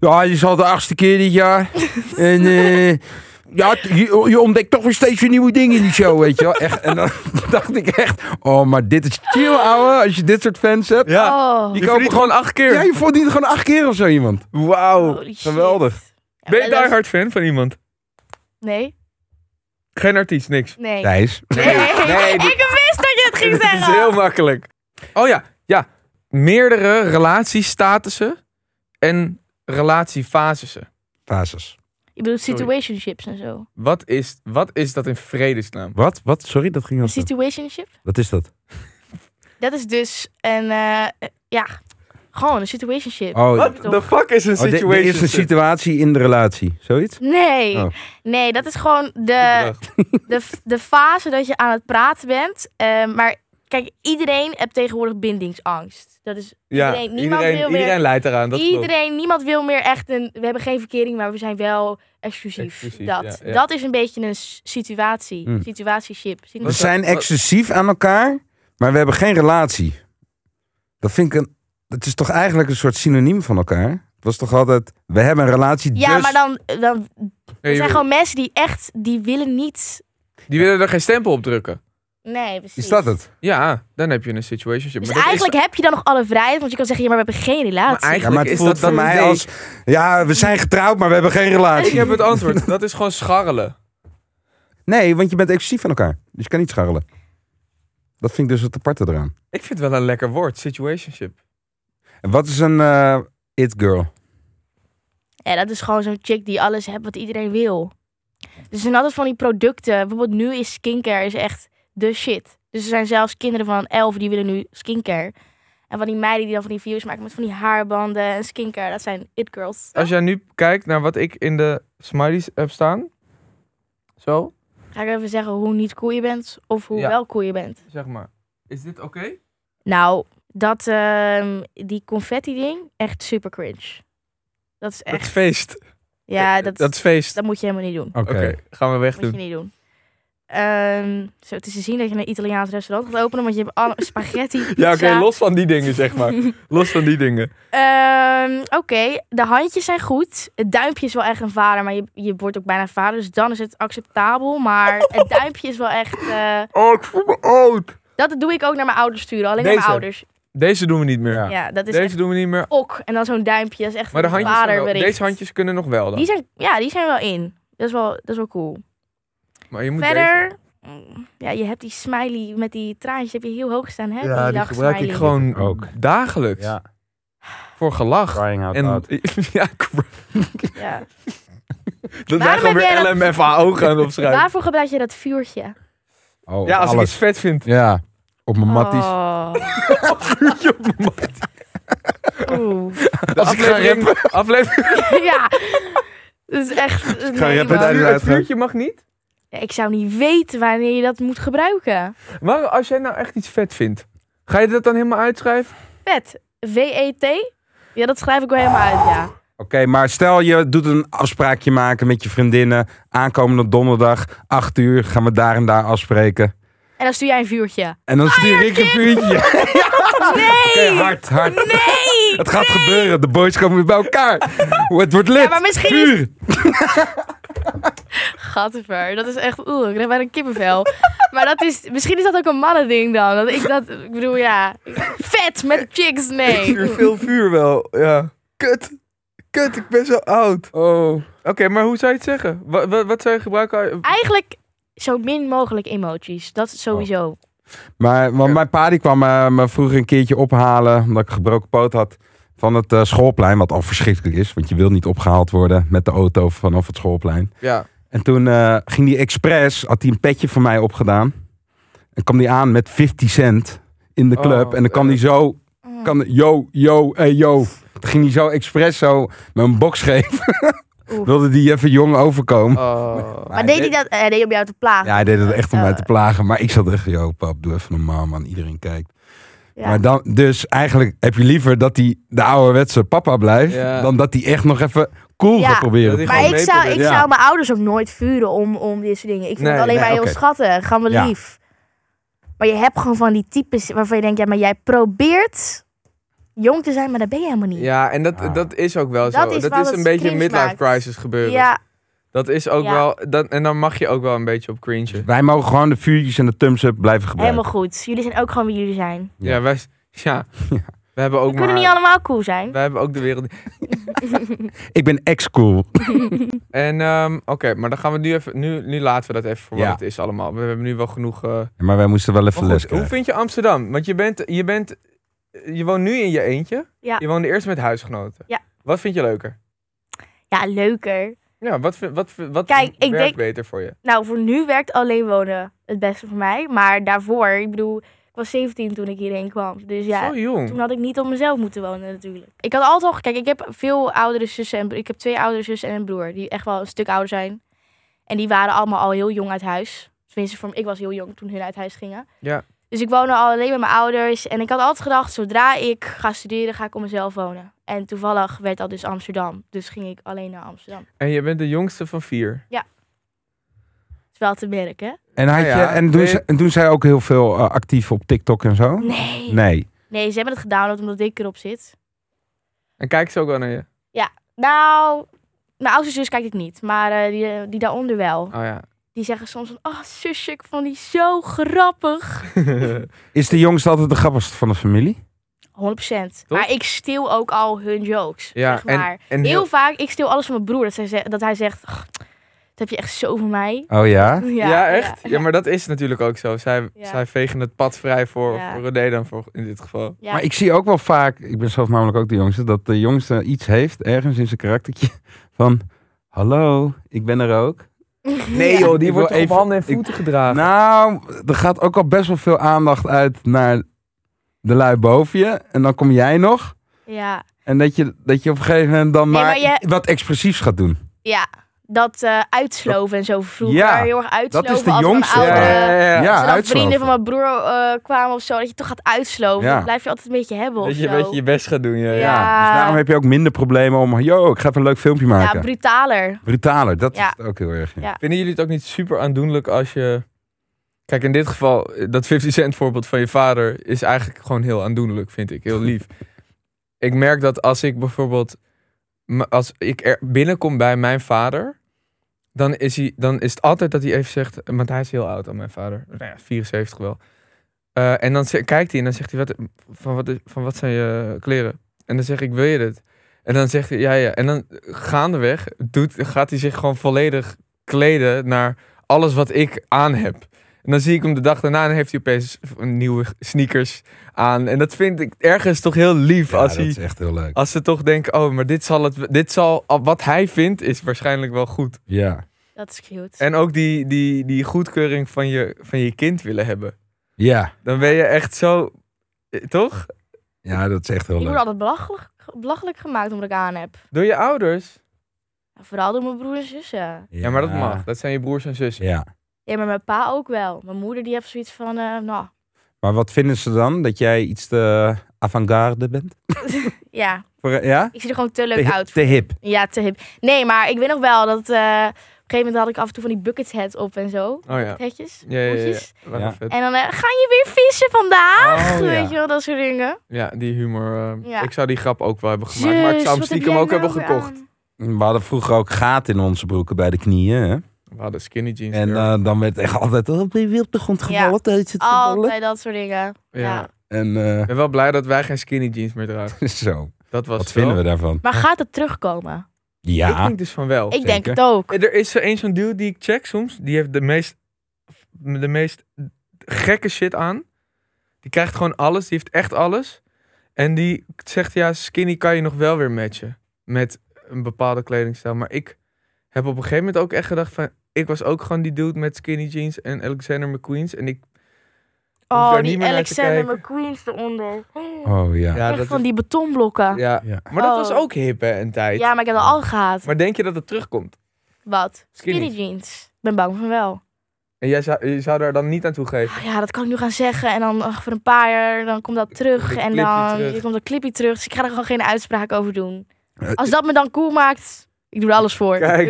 [SPEAKER 3] Ja, dit is al de achtste keer dit jaar. en eh, ja, t- je, je ontdekt toch weer steeds weer nieuwe dingen in die show, weet je wel. Echt, en dan dacht ik echt, oh, maar dit is chill, ouwe, als je dit soort fans hebt.
[SPEAKER 1] ja.
[SPEAKER 2] Oh,
[SPEAKER 1] Die
[SPEAKER 3] Die
[SPEAKER 1] kopen
[SPEAKER 3] verdient
[SPEAKER 1] gewoon acht keer.
[SPEAKER 3] Ja, je verdient gewoon acht keer of zo iemand.
[SPEAKER 1] Wauw.
[SPEAKER 2] holy shit.
[SPEAKER 3] geweldig.
[SPEAKER 2] Ja,
[SPEAKER 1] Ben je
[SPEAKER 2] maar
[SPEAKER 1] daar
[SPEAKER 2] dat-
[SPEAKER 1] hard fan van iemand?
[SPEAKER 2] Nee,
[SPEAKER 1] Geen artiest, niks.
[SPEAKER 2] nee.
[SPEAKER 3] Thijs.
[SPEAKER 2] Nee,
[SPEAKER 1] nee, dit-
[SPEAKER 2] ik wist dat je het ging
[SPEAKER 1] Dit
[SPEAKER 2] zeggen.
[SPEAKER 1] is heel makkelijk. Oh ja, ja. Meerdere relatiestatussen en relatiefasissen.
[SPEAKER 3] Fases.
[SPEAKER 2] Je bedoelt
[SPEAKER 1] Sorry.
[SPEAKER 2] situationships en zo.
[SPEAKER 1] Wat is, wat is dat in vredesnaam?
[SPEAKER 3] Wat? Wat? Sorry, dat ging
[SPEAKER 2] Een
[SPEAKER 3] als...
[SPEAKER 2] situationship?
[SPEAKER 3] Wat is dat?
[SPEAKER 2] Dat is dus een, eh, eh, ja, gewoon een situationship.
[SPEAKER 3] Oh,
[SPEAKER 1] Wat
[SPEAKER 2] Toch?
[SPEAKER 1] the fuck is een
[SPEAKER 3] oh, dit-
[SPEAKER 1] situation?
[SPEAKER 3] dit is een situatie in de relatie. Zoiets?
[SPEAKER 2] Nee,
[SPEAKER 3] Oh.
[SPEAKER 2] nee, dat is gewoon de, de, f- de fase dat je aan het praten bent. Eh, maar kijk, iedereen heeft tegenwoordig bindingsangst. Dat is
[SPEAKER 1] ja,
[SPEAKER 2] iedereen, niemand
[SPEAKER 1] iedereen,
[SPEAKER 2] wil meer-
[SPEAKER 1] iedereen leidt eraan. Dat klopt.
[SPEAKER 2] iedereen, niemand wil meer echt een. We hebben geen verkering, maar we zijn wel exclusief.
[SPEAKER 1] Exclusief,
[SPEAKER 2] dat.
[SPEAKER 1] ja, ja.
[SPEAKER 2] dat is een beetje een s- situatie.
[SPEAKER 1] Hmm.
[SPEAKER 3] Hm.
[SPEAKER 2] Situatieship.
[SPEAKER 3] We
[SPEAKER 2] Situ-
[SPEAKER 3] zijn excessief aan elkaar, maar we hebben geen relatie. Dat vind ik een. Dat is toch eigenlijk een soort synoniem van elkaar? Het was toch altijd. We hebben een relatie.
[SPEAKER 2] Ja,
[SPEAKER 3] dus
[SPEAKER 2] maar dan, dan
[SPEAKER 1] Nee,
[SPEAKER 2] er zijn
[SPEAKER 1] je-
[SPEAKER 2] gewoon mensen die echt, die willen niet.
[SPEAKER 1] Die willen er geen stempel op drukken.
[SPEAKER 2] Nee, precies.
[SPEAKER 3] Is dat het?
[SPEAKER 1] Ja, dan heb je een situationship.
[SPEAKER 2] Dus
[SPEAKER 1] Maar dat is-
[SPEAKER 2] eigenlijk heb je dan nog alle vrijheid, want je kan zeggen, ja, maar we hebben geen relatie.
[SPEAKER 1] Maar
[SPEAKER 3] Ja,
[SPEAKER 1] eigenlijk
[SPEAKER 3] maar het
[SPEAKER 1] is
[SPEAKER 3] voelt
[SPEAKER 1] dat
[SPEAKER 3] voor
[SPEAKER 1] dan
[SPEAKER 3] mij als. Ja, we zijn getrouwd, maar we hebben geen
[SPEAKER 1] Ik
[SPEAKER 3] relatie.
[SPEAKER 1] heb het antwoord. Dat is gewoon scharrelen.
[SPEAKER 3] Nee, want je bent excessief aan elkaar. Dus je kan niet scharrelen. Dat vind ik dus het aparte eraan.
[SPEAKER 1] Ik vind het wel een lekker woord, situationship.
[SPEAKER 3] En wat is een. eh, it girl?
[SPEAKER 2] Ja, dat is gewoon zo'n chick die alles hebt wat iedereen wil. Dus er zijn altijd van die producten. Bijvoorbeeld nu is skincare is echt de shit. Dus er zijn zelfs kinderen van 11 die willen nu skincare. En van die meiden die dan van die video's maken met van die haarbanden en skincare. Dat zijn it girls.
[SPEAKER 1] Als jij nu kijkt naar wat ik in de smileys heb staan. Zo,
[SPEAKER 2] Ga ik even zeggen hoe niet cool je bent of hoe
[SPEAKER 1] Ja.
[SPEAKER 2] wel cool je bent.
[SPEAKER 1] zeg maar. Is dit oké?
[SPEAKER 2] Nou, dat, ehm, die confetti ding, echt super cringe. Dat is
[SPEAKER 1] Dat is
[SPEAKER 2] echt...
[SPEAKER 1] feest.
[SPEAKER 2] Ja, dat,
[SPEAKER 1] dat is feest.
[SPEAKER 2] dat moet je helemaal niet doen.
[SPEAKER 3] Oké.
[SPEAKER 1] Oké, gaan we weg
[SPEAKER 2] Moet je
[SPEAKER 1] doen.
[SPEAKER 2] niet doen. Ehm, zo, het is te zien dat je een Italiaans restaurant gaat openen, want je hebt alle spaghetti.
[SPEAKER 1] Ja, oké,
[SPEAKER 2] pizza.
[SPEAKER 1] los van die dingen, zeg maar. los van die dingen.
[SPEAKER 2] Ehm, oké, de handjes zijn goed. Het duimpje is wel echt een vader, maar je, je wordt ook bijna vader, dus dan is het acceptabel. Maar het duimpje is wel echt. eh,
[SPEAKER 1] Oh, ik voel me oud.
[SPEAKER 2] dat doe ik ook naar mijn ouders sturen, alleen naar
[SPEAKER 1] Deze.
[SPEAKER 2] mijn ouders.
[SPEAKER 1] Deze doen we niet meer.
[SPEAKER 3] Ja.
[SPEAKER 2] Ja, dat is echt
[SPEAKER 1] Deze doen we niet meer.
[SPEAKER 2] ok. En dan zo'n duimpje, dat is echt
[SPEAKER 1] Maar de
[SPEAKER 2] een
[SPEAKER 1] handjes zijn wel-
[SPEAKER 2] vaderbericht.
[SPEAKER 1] deze handjes kunnen nog wel
[SPEAKER 2] Die
[SPEAKER 1] dan.
[SPEAKER 2] zijn, ja, die zijn wel in. Dat is wel, dat is wel cool.
[SPEAKER 1] Maar je moet
[SPEAKER 2] Verder, mm, ja, je hebt die smiley met die traantjes, heb je heel hoog staan, hè?
[SPEAKER 1] deze. Ja, die
[SPEAKER 2] lach
[SPEAKER 1] gebruik ik
[SPEAKER 2] smiley.
[SPEAKER 1] gewoon
[SPEAKER 3] Ook.
[SPEAKER 1] dagelijks. Voor gelach.
[SPEAKER 3] Crying out
[SPEAKER 1] En, ja,
[SPEAKER 2] Ja.
[SPEAKER 1] dat wij
[SPEAKER 2] Waarom
[SPEAKER 1] gewoon
[SPEAKER 2] heb
[SPEAKER 1] weer
[SPEAKER 2] jij
[SPEAKER 1] LMFAO gaan opschrijven.
[SPEAKER 2] Waarvoor gebruik je dat vuurtje?
[SPEAKER 3] Oh,
[SPEAKER 1] Ja, als ik
[SPEAKER 3] alles.
[SPEAKER 1] iets vet vind.
[SPEAKER 3] Ja. op mijn matties.
[SPEAKER 2] Oh. Oeh.
[SPEAKER 3] Als ik ga rappen.
[SPEAKER 1] aflevering
[SPEAKER 2] ja. Dat is echt...
[SPEAKER 3] ga
[SPEAKER 2] nee,
[SPEAKER 3] rappen
[SPEAKER 2] man.
[SPEAKER 3] tijdens-
[SPEAKER 1] het vuurtje mag niet.
[SPEAKER 2] Ja, ik zou niet weten wanneer je dat moet gebruiken.
[SPEAKER 1] Maar als jij nou echt iets vet vindt, ga je dat dan helemaal uitschrijven?
[SPEAKER 2] Vet. W-E-T. Ja, dat schrijf ik wel helemaal uit, ja.
[SPEAKER 3] Oké, maar stel je doet een afspraakje maken met je vriendinnen. Aankomende donderdag, 8 uur, gaan we daar en daar afspreken.
[SPEAKER 2] En dan stuur jij een vuurtje.
[SPEAKER 3] En dan stuur ik een vuurtje.
[SPEAKER 2] Nee!
[SPEAKER 3] Oké, hard, hard.
[SPEAKER 2] Nee!
[SPEAKER 3] Het gaat gebeuren. De boys komen weer bij elkaar. Het wordt lit.
[SPEAKER 2] Ja, maar misschien is-
[SPEAKER 3] Vuur.
[SPEAKER 2] Gadver, dat is echt... Oeh, ik krijg bijna een kippenvel. maar dat is... Misschien is dat ook een mannending dan. Dat ik dat... Ik bedoel, ja... Vet met chicks, nee.
[SPEAKER 1] veel vuur wel, ja. Kut. Kut, ik ben zo oud.
[SPEAKER 3] Oh.
[SPEAKER 1] Oké, maar hoe zou je het zeggen? Wat, wat, wat zou je gebruiken?
[SPEAKER 2] Eigenlijk zo min mogelijk emoties. Dat is sowieso.
[SPEAKER 3] Maar want mijn pa die kwam eh, me vroeger een keertje ophalen, omdat ik een gebroken poot had, van het eh, schoolplein. Wat al verschrikkelijk is, want je wil niet opgehaald worden met de auto vanaf het schoolplein.
[SPEAKER 1] Ja.
[SPEAKER 3] En toen eh, ging die expres, had hij een petje voor mij opgedaan. En kwam die aan met 50 cent in de
[SPEAKER 1] Oh,
[SPEAKER 3] club. en dan kwam die zo,
[SPEAKER 2] Oh.
[SPEAKER 3] kan, yo, yo, hey, yo. Toen ging hij zo expres zo met een box geven.
[SPEAKER 2] Oeh.
[SPEAKER 3] Wilde die even jong overkomen.
[SPEAKER 1] Oh.
[SPEAKER 2] Maar deed hij dat? Hij deed om jou te plagen.
[SPEAKER 3] Ja, hij deed het echt om
[SPEAKER 2] Oh.
[SPEAKER 3] mij te plagen. Maar ik zat echt, joh, pap, doe even normaal, man. Iedereen kijkt.
[SPEAKER 2] Ja.
[SPEAKER 3] Maar dan, dus eigenlijk heb je liever dat hij de ouderwetse papa blijft...
[SPEAKER 1] Ja.
[SPEAKER 3] dan dat hij echt nog even cool
[SPEAKER 2] Ja.
[SPEAKER 3] gaat proberen.
[SPEAKER 1] Dat
[SPEAKER 3] te
[SPEAKER 1] hij
[SPEAKER 2] Maar
[SPEAKER 3] gaan.
[SPEAKER 1] gewoon
[SPEAKER 2] ik
[SPEAKER 1] mee
[SPEAKER 2] zou, ik
[SPEAKER 1] probeert.
[SPEAKER 3] Ja.
[SPEAKER 2] zou mijn ouders ook nooit vuren om, om dit soort dingen. Ik vind
[SPEAKER 1] Nee,
[SPEAKER 2] het alleen
[SPEAKER 3] nee,
[SPEAKER 2] maar heel
[SPEAKER 3] oké.
[SPEAKER 2] schattig. Gaan we
[SPEAKER 3] Ja.
[SPEAKER 2] lief. Maar je hebt gewoon van die types waarvan je denkt, ja, maar jij probeert jong te zijn, maar dat ben je helemaal niet.
[SPEAKER 1] Ja, en dat,
[SPEAKER 3] Ah.
[SPEAKER 1] dat is ook wel
[SPEAKER 2] Dat
[SPEAKER 1] zo.
[SPEAKER 2] is
[SPEAKER 1] dat
[SPEAKER 2] wel
[SPEAKER 1] is
[SPEAKER 2] wat
[SPEAKER 1] een beetje
[SPEAKER 2] cringe
[SPEAKER 1] een midlife
[SPEAKER 2] maakt.
[SPEAKER 1] crisis gebeuren.
[SPEAKER 2] Ja,
[SPEAKER 1] Dat is ook
[SPEAKER 2] Ja.
[SPEAKER 1] wel... Dat, en dan mag je ook wel een beetje op cringe. Ja,
[SPEAKER 3] Wij mogen gewoon de vuurtjes en de thumbs-up blijven gebruiken.
[SPEAKER 2] helemaal goed. Jullie zijn ook gewoon wie jullie zijn.
[SPEAKER 3] Ja.
[SPEAKER 1] wij... Ja. We hebben ook
[SPEAKER 2] We kunnen
[SPEAKER 1] maar...
[SPEAKER 2] niet allemaal cool zijn.
[SPEAKER 1] Wij hebben ook de wereld...
[SPEAKER 3] Ik ben ex-cool.
[SPEAKER 1] En ehm, oké, maar dan gaan we nu even... Nu, nu laten we dat even voor
[SPEAKER 3] Ja.
[SPEAKER 1] wat het is allemaal. We hebben nu wel genoeg... eh,
[SPEAKER 3] Maar wij moesten wel even
[SPEAKER 1] Maar
[SPEAKER 3] les
[SPEAKER 1] goed, hoe
[SPEAKER 3] krijgen.
[SPEAKER 1] vind je Amsterdam? Want je bent, je bent, je woont nu in je eentje.
[SPEAKER 2] Ja.
[SPEAKER 1] Je woonde eerst met huisgenoten.
[SPEAKER 2] Ja.
[SPEAKER 1] Wat vind je leuker?
[SPEAKER 2] Ja, leuker.
[SPEAKER 1] Ja, wat, vind- wat, wat
[SPEAKER 2] Kijk, ik
[SPEAKER 1] werkt
[SPEAKER 2] denk-
[SPEAKER 1] beter voor je?
[SPEAKER 2] Nou, voor nu werkt alleen wonen het beste voor mij. Maar daarvoor, ik bedoel, ik was 17 toen ik hierheen kwam. Dus ja,
[SPEAKER 1] Zo jong.
[SPEAKER 2] Toen had ik niet op mezelf moeten wonen natuurlijk. Ik had altijd al, kijk, ik heb veel oudere zussen en ik heb twee oudere zussen en een broer die echt wel een stuk ouder zijn. En die waren allemaal al heel jong uit huis. Tenminste, voor, ik was heel jong toen hun uit huis gingen.
[SPEAKER 1] Ja.
[SPEAKER 2] Dus ik woonde al alleen met mijn ouders. En ik had altijd gedacht, zodra ik ga studeren, ga ik op mezelf wonen. En toevallig werd dat dus Amsterdam. Dus ging ik alleen naar Amsterdam.
[SPEAKER 1] En je bent de jongste van vier.
[SPEAKER 2] Dat is wel te merken, hè?
[SPEAKER 3] En, had je,
[SPEAKER 1] Nou ja,
[SPEAKER 3] en,
[SPEAKER 1] ben
[SPEAKER 3] doen
[SPEAKER 1] je-
[SPEAKER 3] ze, en doen zij ook heel veel eh, actief op TikTok en zo?
[SPEAKER 2] Nee.
[SPEAKER 3] Nee.
[SPEAKER 2] Nee, ze hebben het gedownload omdat ik erop zit.
[SPEAKER 1] En kijken ze ook wel naar je?
[SPEAKER 2] Nou, mijn oudste zus kijkt het niet. Maar eh, die, eh, die daaronder wel.
[SPEAKER 1] Oh ja.
[SPEAKER 2] Die zeggen soms van, oh zusje, ik vond die zo grappig. 100%.
[SPEAKER 3] Is de jongste altijd de grappigste van de familie?
[SPEAKER 2] Maar ik stil ook al hun jokes,
[SPEAKER 1] ja.
[SPEAKER 2] zeg maar.
[SPEAKER 1] En, en
[SPEAKER 2] heel...
[SPEAKER 1] heel,
[SPEAKER 2] vaak, ik stil alles van mijn broer. Dat, zij ze- dat hij zegt, "Ach, dat heb je echt zo van mij.
[SPEAKER 3] Oh ja?
[SPEAKER 1] ja, echt? Ja. maar dat is natuurlijk ook zo. Zij,
[SPEAKER 2] Ja.
[SPEAKER 1] zij vegen het pad vrij voor,
[SPEAKER 2] Ja.
[SPEAKER 1] voor René dan voor, in dit geval.
[SPEAKER 2] Ja.
[SPEAKER 3] Maar ik zie ook wel vaak, ik ben zelf namelijk ook de jongste, dat de jongste iets heeft ergens in zijn karaktertje van, hallo, ik ben er ook.
[SPEAKER 1] Nee joh, die
[SPEAKER 3] Ik
[SPEAKER 1] wordt
[SPEAKER 3] wil
[SPEAKER 1] op
[SPEAKER 3] even-
[SPEAKER 1] handen en
[SPEAKER 3] ik-
[SPEAKER 1] voeten gedragen.
[SPEAKER 3] Nou, er gaat ook al best wel veel aandacht uit naar de lui boven je en dan kom jij nog
[SPEAKER 2] ja.
[SPEAKER 3] en dat je, dat je op een gegeven moment dan
[SPEAKER 2] Nee,
[SPEAKER 3] maar,
[SPEAKER 2] maar
[SPEAKER 3] wat expressiefs gaat doen.
[SPEAKER 2] ja, dat eh, uitsloven en zo vroeger.
[SPEAKER 3] Ja,
[SPEAKER 2] heel erg uitsloven.
[SPEAKER 3] de
[SPEAKER 2] als er een
[SPEAKER 3] jongste,
[SPEAKER 2] oude-
[SPEAKER 3] ja, ja, Ja,
[SPEAKER 2] als er dan
[SPEAKER 3] uitsloven.
[SPEAKER 2] vrienden van mijn broer eh, kwamen of zo, dat je toch gaat uitsloven.
[SPEAKER 3] Ja.
[SPEAKER 2] Dat blijf je altijd een beetje hebben of
[SPEAKER 1] Dat je
[SPEAKER 2] zo.
[SPEAKER 1] een beetje je best gaat doen. Ja.
[SPEAKER 2] Ja.
[SPEAKER 3] Dus daarom heb je ook minder problemen om, yo, ik ga even een leuk filmpje
[SPEAKER 2] ja,
[SPEAKER 3] maken.
[SPEAKER 2] brutaler.
[SPEAKER 3] Brutaler, dat
[SPEAKER 2] Ja.
[SPEAKER 3] is het ook heel erg. ja.
[SPEAKER 2] Ja.
[SPEAKER 1] Vinden jullie het ook niet super aandoenlijk als je. Kijk, in dit geval, eh, dat 50 cent voorbeeld van je vader is eigenlijk gewoon heel aandoenlijk, vind ik. Heel lief. ik merk dat als ik bijvoorbeeld. m- Als ik er binnenkom bij mijn vader, dan is, hij, dan is het altijd dat hij even zegt. eh, Want hij is heel oud aan mijn vader. Nou ja, 74 wel. Eh, en dan ze- kijkt hij en dan zegt hij: wat, van, wat, is- van wat zijn je kleren? En dan zeg ik: Wil je dit? En dan zegt hij: Ja, ja. En dan eh, gaandeweg doet, gaat hij zich gewoon volledig kleden naar alles wat ik aan heb. En dan zie ik hem de dag daarna en heeft hij opeens nieuwe sneakers aan. En dat vind ik ergens toch heel lief
[SPEAKER 3] Ja,
[SPEAKER 1] als,
[SPEAKER 3] dat
[SPEAKER 1] hij,
[SPEAKER 3] is echt heel leuk.
[SPEAKER 1] als ze toch denken, oh, maar dit zal, het, dit zal, ah, wat hij vindt is waarschijnlijk wel goed.
[SPEAKER 3] Ja.
[SPEAKER 2] Dat is cute.
[SPEAKER 1] En ook die, die, die goedkeuring van je, van je kind willen hebben.
[SPEAKER 3] Ja.
[SPEAKER 1] Dan ben je echt zo... eh, Toch?
[SPEAKER 3] ja, dat is echt heel
[SPEAKER 2] Ik word
[SPEAKER 3] leuk.
[SPEAKER 2] altijd belachelijk, belachelijk gemaakt omdat ik aan heb.
[SPEAKER 1] Door je ouders?
[SPEAKER 2] Ja, Vooral door mijn broer en zussen.
[SPEAKER 1] Ja, maar dat mag. Dat zijn je broers en zussen.
[SPEAKER 3] Ja.
[SPEAKER 2] Ja, maar mijn pa ook wel. Mijn moeder die heeft zoiets van, eh, nou,
[SPEAKER 3] Maar wat vinden ze dan? Dat jij iets te avant-garde bent?
[SPEAKER 2] ja.
[SPEAKER 3] Voor- ja?
[SPEAKER 2] Ik zie er gewoon te
[SPEAKER 3] te,
[SPEAKER 2] leuk
[SPEAKER 3] hi-
[SPEAKER 2] uit.
[SPEAKER 3] te hip.
[SPEAKER 2] Ja, te hip. Nee, maar ik weet nog wel dat... eh, op een gegeven moment had ik af en toe van die buckethead op en zo.
[SPEAKER 1] Oh ja.
[SPEAKER 2] Hetjes,
[SPEAKER 1] Ja, ja, ja, ja.
[SPEAKER 2] hoedjes.
[SPEAKER 1] Wel
[SPEAKER 3] Ja.
[SPEAKER 1] vet.
[SPEAKER 2] En dan eh, gaan je weer vissen vandaag.
[SPEAKER 3] Oh, ja.
[SPEAKER 2] Weet je wel, dat soort dingen.
[SPEAKER 1] Ja, die humor. eh,
[SPEAKER 2] Ja.
[SPEAKER 1] Ik zou die grap ook wel hebben gemaakt. maar ik
[SPEAKER 2] Jezus,
[SPEAKER 1] zou hem
[SPEAKER 2] wat heb
[SPEAKER 1] stiekem
[SPEAKER 2] jij
[SPEAKER 1] ook
[SPEAKER 2] nou
[SPEAKER 1] hebben
[SPEAKER 2] weer
[SPEAKER 1] gekocht.
[SPEAKER 2] aan?
[SPEAKER 3] We hadden vroeger ook gaten in onze broeken bij de knieën. Hè?
[SPEAKER 1] We hadden skinny jeans.
[SPEAKER 3] En
[SPEAKER 1] ja.
[SPEAKER 3] eh, dan werd echt altijd oh, ben je weer op de grond gevallen.
[SPEAKER 2] Ja.
[SPEAKER 3] tijdens het voetballen?
[SPEAKER 2] Altijd dat soort dingen. ja.
[SPEAKER 3] En eh,
[SPEAKER 1] Ik ben wel blij dat wij geen skinny jeans meer dragen.
[SPEAKER 3] zo.
[SPEAKER 1] Dat was
[SPEAKER 3] Wat vinden we daarvan?
[SPEAKER 2] Maar gaat het terugkomen?
[SPEAKER 1] Ik
[SPEAKER 3] Ja.
[SPEAKER 1] denk dus van wel.
[SPEAKER 2] ik denk
[SPEAKER 3] zeker.
[SPEAKER 2] het ook.
[SPEAKER 1] Eh, Er is zo een zo'n dude die ik check soms. Die heeft de meest, de meest gekke shit aan. Die krijgt gewoon alles. Die heeft echt alles. En die zegt ja, skinny kan je nog wel weer matchen. Met een bepaalde kledingstijl. Maar ik heb op een gegeven moment ook echt gedacht van... Ik was ook gewoon die dude met skinny jeans en Alexander McQueen's. En ik...
[SPEAKER 2] Oh,
[SPEAKER 1] daar
[SPEAKER 2] die
[SPEAKER 1] niet meer naar te
[SPEAKER 2] Alexander
[SPEAKER 1] kijken.
[SPEAKER 2] McQueen's eronder.
[SPEAKER 3] Oh ja.
[SPEAKER 1] Ja,
[SPEAKER 2] Echt
[SPEAKER 1] dat
[SPEAKER 2] van
[SPEAKER 1] is-
[SPEAKER 2] die betonblokken.
[SPEAKER 1] ja.
[SPEAKER 2] Ja.
[SPEAKER 3] Ja.
[SPEAKER 1] maar dat
[SPEAKER 2] Oh.
[SPEAKER 1] was ook hip hè, een tijd.
[SPEAKER 2] maar ik heb dat al gehad.
[SPEAKER 1] Maar denk je dat het terugkomt?
[SPEAKER 2] Wat?
[SPEAKER 1] Skinny.
[SPEAKER 2] Skinny jeans. Ik ben bang van wel.
[SPEAKER 1] En jij zou, je zou daar dan niet aan toegeven?
[SPEAKER 2] Oh ja, dat kan ik nu gaan zeggen. En dan ach, voor een paar jaar dan komt dat terug.
[SPEAKER 1] Komt dit
[SPEAKER 2] en
[SPEAKER 1] clipje
[SPEAKER 2] dan
[SPEAKER 1] terug.
[SPEAKER 2] komt dat clipje terug. Dus ik ga er gewoon geen uitspraak over doen.
[SPEAKER 3] Eh,
[SPEAKER 2] Als dat me dan cool maakt, ik doe er alles voor.
[SPEAKER 1] Kijk.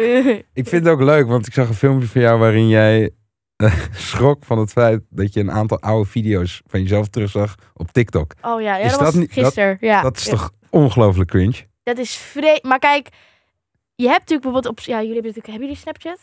[SPEAKER 3] Ik vind het ook leuk, want ik zag een filmpje van jou waarin jij eh, schrok van het feit dat je een aantal oude video's van jezelf terugzag op TikTok.
[SPEAKER 2] oh ja, ja
[SPEAKER 3] Is
[SPEAKER 2] dat,
[SPEAKER 3] dat
[SPEAKER 2] was
[SPEAKER 3] niet- dat-
[SPEAKER 2] gisteren. ja.
[SPEAKER 3] Dat is toch ongelooflijk cringe?
[SPEAKER 2] Dat is vre... Maar kijk, je hebt natuurlijk bijvoorbeeld op... Ja, jullie hebben natuurlijk... Hebben jullie Snapchat?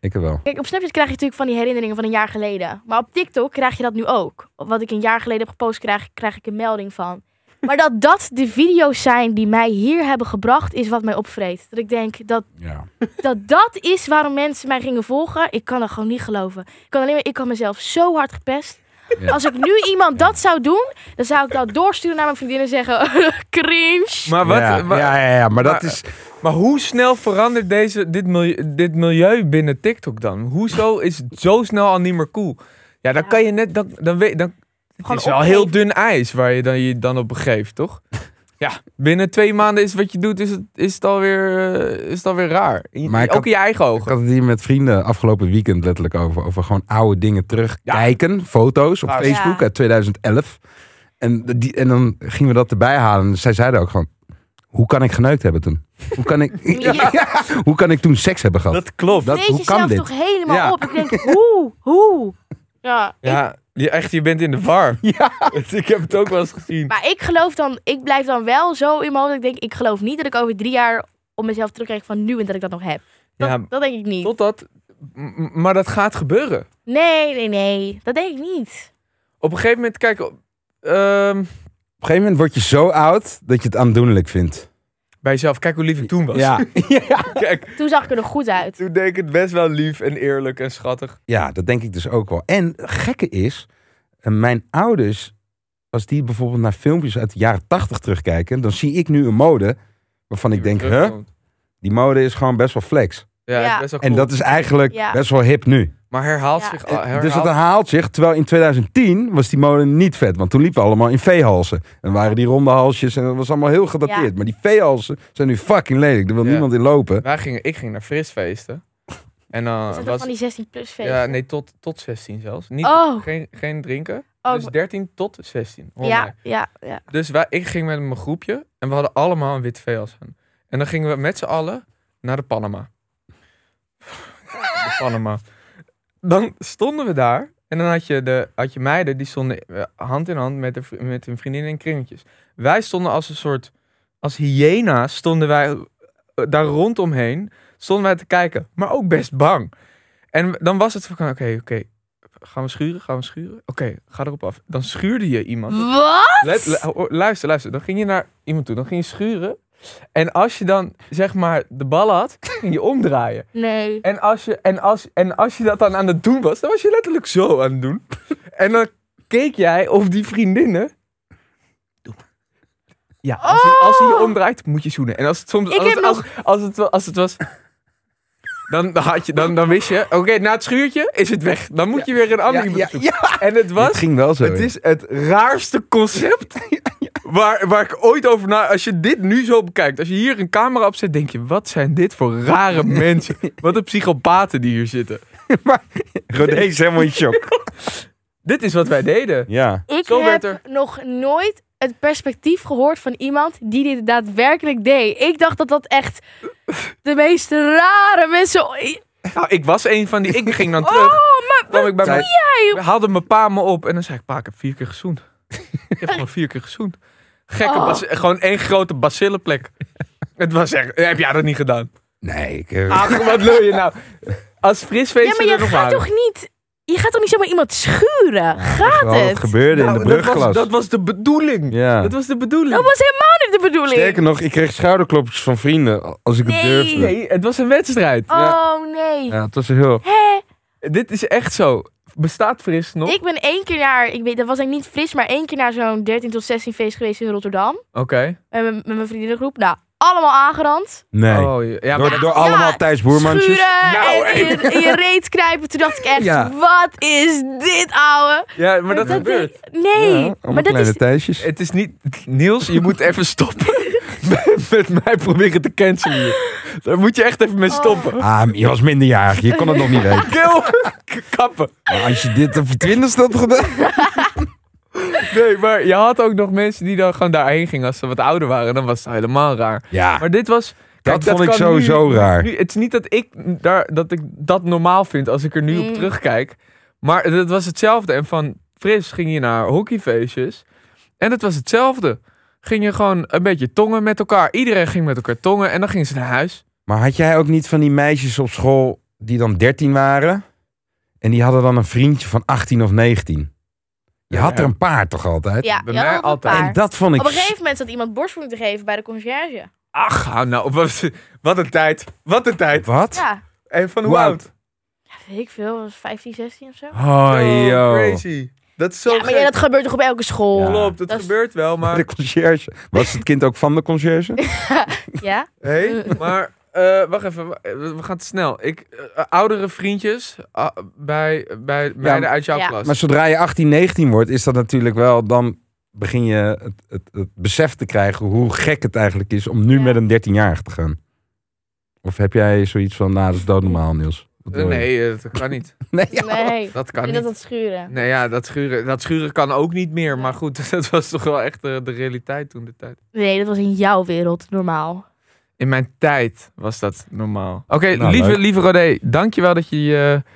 [SPEAKER 3] Ik heb wel.
[SPEAKER 2] Kijk, op Snapchat krijg je natuurlijk van die herinneringen van een jaar geleden. Maar op TikTok krijg je dat nu ook. Wat ik een jaar geleden heb gepost, krijg, krijg ik een melding van. Maar dat dat de video's zijn die mij hier hebben gebracht, is wat mij opvreet. Dat ik denk, dat
[SPEAKER 3] Ja.
[SPEAKER 2] dat, dat is waarom mensen mij gingen volgen. Ik kan dat gewoon niet geloven. Ik kan alleen maar, ik kan mezelf zo hard gepest.
[SPEAKER 3] Ja.
[SPEAKER 2] Als ik nu iemand dat zou doen, dan zou ik dat doorsturen naar mijn vriendin en zeggen, cringe.
[SPEAKER 1] Maar wat...
[SPEAKER 3] Ja,
[SPEAKER 1] wa-
[SPEAKER 3] ja, ja, ja, maar dat
[SPEAKER 1] maar-
[SPEAKER 3] is...
[SPEAKER 1] Maar hoe snel verandert deze, dit, milieu, dit milieu binnen TikTok dan? Hoezo is het zo snel al niet meer cool? Ja, dan
[SPEAKER 2] Ja.
[SPEAKER 1] kan je net... Dan, dan weet, dan, het
[SPEAKER 2] Gewoon
[SPEAKER 1] is wel
[SPEAKER 2] opgeven.
[SPEAKER 1] heel dun ijs waar je dan, je dan op begeeft, toch? Ja, binnen twee maanden is wat je doet, is het, is het, alweer, eh, is het alweer raar. Je-
[SPEAKER 3] Maar ik
[SPEAKER 1] ook
[SPEAKER 3] had-
[SPEAKER 1] in je eigen
[SPEAKER 3] Ik
[SPEAKER 1] ogen.
[SPEAKER 3] had het hier met vrienden afgelopen weekend letterlijk over. Over gewoon oude dingen terugkijken. Foto's op
[SPEAKER 1] Ja.
[SPEAKER 3] Facebook uit 2011. En, die, en dan gingen we dat erbij halen. En zij zeiden ook gewoon... Hoe kan ik geneukt hebben toen? Hoe kan ik,
[SPEAKER 2] Ja.
[SPEAKER 3] Ja, hoe kan ik toen seks hebben gehad?
[SPEAKER 1] klopt.
[SPEAKER 3] Dat-
[SPEAKER 2] Vreet
[SPEAKER 3] hoe kan
[SPEAKER 2] jezelf
[SPEAKER 3] dit?
[SPEAKER 2] toch helemaal
[SPEAKER 3] Ja.
[SPEAKER 2] op. Ik denk, hoe, hoe. Ja,
[SPEAKER 1] Ja, je, echt, je bent in de war. Dus
[SPEAKER 3] Ja.
[SPEAKER 1] Ik heb het ook wel eens gezien.
[SPEAKER 2] Maar ik geloof dan, ik blijf dan wel zo in mijn hoofd. dat Ik denk, ik geloof niet dat ik over drie jaar op mezelf terugkrijg van nu en dat ik dat nog heb. Dat,
[SPEAKER 1] Ja,
[SPEAKER 2] dat denk ik niet.
[SPEAKER 1] totdat... m- m- Maar dat gaat gebeuren.
[SPEAKER 2] Nee, nee, nee. Dat denk ik niet.
[SPEAKER 1] Op een gegeven moment, kijk... ehm,
[SPEAKER 3] Op een gegeven moment word je zo oud dat je het aandoenlijk vindt.
[SPEAKER 1] bij jezelf, kijk hoe lief ik toen was.
[SPEAKER 3] Ja,
[SPEAKER 1] Kijk,
[SPEAKER 2] Toen zag ik er nog goed uit.
[SPEAKER 1] Toen deed ik het best wel lief en eerlijk en schattig.
[SPEAKER 3] ja, dat denk ik dus ook wel. En het gekke is, eh, mijn ouders, als die bijvoorbeeld naar filmpjes uit de jaren tachtig terugkijken, dan zie ik nu een mode waarvan ik denk, huh, die mode is gewoon best wel flex.
[SPEAKER 1] Ja,
[SPEAKER 2] Ja.
[SPEAKER 1] is best wel
[SPEAKER 3] En
[SPEAKER 1] cool.
[SPEAKER 3] dat is eigenlijk
[SPEAKER 2] Ja.
[SPEAKER 3] best wel hip nu.
[SPEAKER 1] Maar herhaalt
[SPEAKER 2] Ja.
[SPEAKER 1] zich... al- Herhaalt...
[SPEAKER 3] Dus dat herhaalt zich, terwijl in 2010 was die mode niet vet, want toen liepen we allemaal in veehalsen. En waren die ronde halsjes en dat was allemaal heel gedateerd.
[SPEAKER 2] Ja.
[SPEAKER 3] Maar die veehalsen zijn nu fucking lelijk, daar wil
[SPEAKER 1] Ja.
[SPEAKER 3] niemand in lopen.
[SPEAKER 1] Wij gingen, ik ging naar frisfeesten. En dan
[SPEAKER 2] Is dat ook
[SPEAKER 1] Ah, was...
[SPEAKER 2] van die 16 plus feest?
[SPEAKER 1] ja, nee, tot, tot 16 zelfs. Niet,
[SPEAKER 2] Oh.
[SPEAKER 1] geen, geen drinken.
[SPEAKER 2] Oh,
[SPEAKER 1] dus
[SPEAKER 2] ik-
[SPEAKER 1] 13 tot 16. hoor mij.
[SPEAKER 2] ja, ja, ja.
[SPEAKER 1] Dus wij, ik ging met mijn groepje en we hadden allemaal een wit veejas aan. En dan gingen we met z'n allen naar de Panama. De Panama. Dan stonden we daar en dan had je, de, had je meiden die stonden eh, hand in hand met, de, vri- met hun vriendinnen in kringetjes. Wij stonden als een soort, als hyena's stonden wij eh, daar rondomheen, stonden wij te kijken, maar ook best bang. En dan was het van, oké, oké, gaan we schuren, gaan we schuren? Oké, ga erop af. Dan schuurde je iemand.
[SPEAKER 2] Wat?
[SPEAKER 1] Let- lu- hoor, luister, luister. Dan ging je naar iemand toe. Dan ging je schuren. En als je dan, zeg maar, de bal had, ging je omdraaien.
[SPEAKER 2] Nee.
[SPEAKER 1] En als je, en als, en als je dat dan aan het doen was, dan was je letterlijk zo aan het doen. En dan keek jij of die vriendinnen... Doe maar. Ja, als, hij, als hij je omdraait, moet je zoenen. En als het soms...
[SPEAKER 2] Ik
[SPEAKER 1] Als,
[SPEAKER 2] heb
[SPEAKER 1] als, als, het, wel- als het was... Dan, had je, dan, dan wist je, oké, na het schuurtje is het weg. Dan moet je weer een
[SPEAKER 3] Ja,
[SPEAKER 1] andere iemand
[SPEAKER 3] ja,
[SPEAKER 1] zoeken.
[SPEAKER 3] ja,
[SPEAKER 1] En het was,
[SPEAKER 3] het ging wel zo.
[SPEAKER 1] het
[SPEAKER 3] ja.
[SPEAKER 1] is het raarste concept Waar, waar ik ooit over na... Als je dit nu zo bekijkt, als je hier een camera op zet, denk je, wat zijn dit voor rare mensen? Wat een psychopaten die hier zitten.
[SPEAKER 3] Rodé is helemaal in shock.
[SPEAKER 1] Dit is wat wij deden.
[SPEAKER 3] Ja.
[SPEAKER 2] Ik
[SPEAKER 1] Zo
[SPEAKER 2] heb
[SPEAKER 1] werd er-
[SPEAKER 2] nog nooit het perspectief gehoord van iemand die dit daadwerkelijk deed. Ik dacht dat dat echt de meest rare mensen...
[SPEAKER 1] Nou, ik was een van die... Ik ging
[SPEAKER 2] Oh.
[SPEAKER 1] dan terug. kwam ik bij
[SPEAKER 3] doe
[SPEAKER 1] mijn, Haalde mijn pa me op en dan zei ik, pa, ik heb vier keer gezoend. Ik heb gewoon vier keer gezoend. Gekke,
[SPEAKER 2] Oh.
[SPEAKER 1] bas- gewoon één grote bacillenplek. Het was echt... eh, Heb jij dat niet gedaan?
[SPEAKER 3] Nee, ik... eh,
[SPEAKER 1] Ach, wat wil je nou? Als
[SPEAKER 2] Ja,
[SPEAKER 1] frisfeestje
[SPEAKER 2] maar je
[SPEAKER 1] er nog
[SPEAKER 2] gaat
[SPEAKER 1] waren.
[SPEAKER 2] toch niet... Je gaat toch niet zomaar iemand schuren?
[SPEAKER 3] echt
[SPEAKER 2] Gaat
[SPEAKER 3] wel, Wat
[SPEAKER 2] het?
[SPEAKER 3] gebeurde
[SPEAKER 1] Nou,
[SPEAKER 3] in de
[SPEAKER 1] dat, was,
[SPEAKER 3] brugklas.
[SPEAKER 1] dat was de bedoeling.
[SPEAKER 3] Ja.
[SPEAKER 1] Dat was de bedoeling.
[SPEAKER 2] Dat was helemaal niet de bedoeling.
[SPEAKER 3] Sterker nog, ik kreeg schouderklopjes van vrienden als ik het
[SPEAKER 2] Nee.
[SPEAKER 3] durfde.
[SPEAKER 1] Nee, het was een wedstrijd.
[SPEAKER 2] Oh nee.
[SPEAKER 3] Ja, het was heel...
[SPEAKER 2] Hè?
[SPEAKER 1] Dit is echt zo. Bestaat fris
[SPEAKER 3] Oh.
[SPEAKER 1] nog?
[SPEAKER 2] Ik ben één keer naar, ik weet, dat was eigenlijk niet fris, maar één keer naar zo'n 13 tot 16 feest geweest in Rotterdam.
[SPEAKER 1] Oké.
[SPEAKER 2] Met, mijn- met mijn vriendengroep. Nou, allemaal aangerand.
[SPEAKER 3] Nee.
[SPEAKER 1] Oh, ja, ja,
[SPEAKER 3] door
[SPEAKER 1] maar-
[SPEAKER 3] door allemaal
[SPEAKER 2] Ja,
[SPEAKER 3] Thijs Boermantjes.
[SPEAKER 2] Schuren
[SPEAKER 1] Nou,
[SPEAKER 2] en in je, in je reet knijpen. Toen dacht ik echt,
[SPEAKER 3] Ja.
[SPEAKER 2] wat is dit, ouwe?
[SPEAKER 1] ja, maar dat, gebeurt.
[SPEAKER 2] deed- Nee, maar dat is...
[SPEAKER 3] Thijsjes.
[SPEAKER 1] Het is niet... Niels, je moet even stoppen. met, met mij proberen te cancelen hier. Daar moet je echt even
[SPEAKER 2] Oh.
[SPEAKER 1] mee stoppen.
[SPEAKER 3] Ah, je was minderjarig, je kon het nog niet weten.
[SPEAKER 1] Kill! Kappen.
[SPEAKER 3] Maar als je dit op je twintigste had gedaan...
[SPEAKER 1] Nee, maar je had ook nog mensen die dan gewoon daarheen gingen als ze wat ouder waren. Dan was het helemaal raar.
[SPEAKER 3] Ja,
[SPEAKER 1] Maar dit was... Kijk,
[SPEAKER 3] vond ik
[SPEAKER 1] kan
[SPEAKER 3] sowieso
[SPEAKER 1] nu-
[SPEAKER 3] raar.
[SPEAKER 1] nu- het is niet dat ik, daar, dat ik dat normaal vind als ik er nu op
[SPEAKER 2] Mm.
[SPEAKER 1] terugkijk. Maar het was hetzelfde. En van fris ging je naar hockeyfeestjes. En het was hetzelfde. Ging je gewoon een beetje tongen met elkaar. Iedereen ging met elkaar tongen. En dan gingen ze naar huis.
[SPEAKER 3] maar had jij ook niet van die meisjes op school die dan 13 waren... en die hadden dan een vriendje van 18 of 19? Je
[SPEAKER 1] Ja,
[SPEAKER 3] had er
[SPEAKER 1] ja.
[SPEAKER 3] een paar toch altijd?
[SPEAKER 2] Ja,
[SPEAKER 1] bij
[SPEAKER 2] je
[SPEAKER 1] mij
[SPEAKER 2] had een
[SPEAKER 1] altijd.
[SPEAKER 2] paar.
[SPEAKER 3] En dat vond ik...
[SPEAKER 2] Op een gegeven moment zat iemand borstvoeding te geven bij de conciërge.
[SPEAKER 1] Ach, hou nou. Wat, wat een tijd. Wat een tijd.
[SPEAKER 3] Wat?
[SPEAKER 2] Ja,
[SPEAKER 1] En van
[SPEAKER 3] Hoe oud?
[SPEAKER 2] Ja, weet ik veel, was 15, 16 of zo.
[SPEAKER 3] Oh, joh.
[SPEAKER 1] Crazy. Dat is zo
[SPEAKER 2] Ja, maar ja, dat gebeurt toch op elke school?
[SPEAKER 3] Ja.
[SPEAKER 1] Klopt, dat,
[SPEAKER 2] Dat is-
[SPEAKER 1] gebeurt wel, maar...
[SPEAKER 3] De conciërge. Was het kind ook van de conciërge?
[SPEAKER 2] ja?
[SPEAKER 1] Hé, maar eh, wacht even, wa- eh, we gaan te snel. Ik, eh, oudere vriendjes ah, bij, bij meiden uit jouw
[SPEAKER 2] ja.
[SPEAKER 1] klas.
[SPEAKER 3] Maar zodra je 18, 19 wordt, is dat natuurlijk wel... dan begin je het, het, het besef te krijgen hoe gek het eigenlijk is... om nu
[SPEAKER 2] Ja.
[SPEAKER 3] met een 13-jarige te gaan. Of heb jij zoiets van, nou, dat is doodnormaal, Niels? Wat
[SPEAKER 1] Eh,
[SPEAKER 3] wil je?
[SPEAKER 1] nee, eh, dat kan niet.
[SPEAKER 3] nee ja.
[SPEAKER 2] Nee,
[SPEAKER 1] Dat
[SPEAKER 2] ik
[SPEAKER 1] kan
[SPEAKER 2] vind
[SPEAKER 1] niet.
[SPEAKER 2] dat dat schuren.
[SPEAKER 1] Nee, ja, dat schuren, dat schuren kan ook niet meer. Maar goed, dat was toch wel echt eh, de realiteit toen de tijd.
[SPEAKER 2] Nee, dat was in jouw wereld normaal.
[SPEAKER 1] In mijn tijd was dat normaal. Oké,
[SPEAKER 3] Nou,
[SPEAKER 1] lieve,
[SPEAKER 3] leuk.
[SPEAKER 1] lieve Rodé, dankjewel dat je je eh,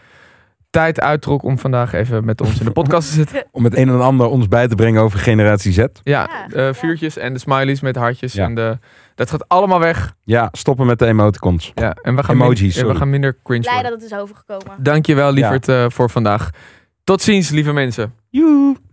[SPEAKER 1] tijd uittrok om vandaag even met ons in de podcast te zitten.
[SPEAKER 3] Om het een en ander ons bij te brengen over generatie Z.
[SPEAKER 1] Ja,
[SPEAKER 2] Ja.
[SPEAKER 1] eh, vuurtjes en de smileys met hartjes.
[SPEAKER 3] Ja.
[SPEAKER 1] En de, dat gaat allemaal weg.
[SPEAKER 3] Ja, stoppen met de emoticons.
[SPEAKER 1] Ja, en we gaan, min-
[SPEAKER 3] Emojis,
[SPEAKER 1] en we
[SPEAKER 3] sorry.
[SPEAKER 1] gaan minder cringe worden.
[SPEAKER 2] Blij dat het is overgekomen.
[SPEAKER 1] Dankjewel, lieverd, eh, voor vandaag. Tot ziens, lieve mensen.
[SPEAKER 3] Joe!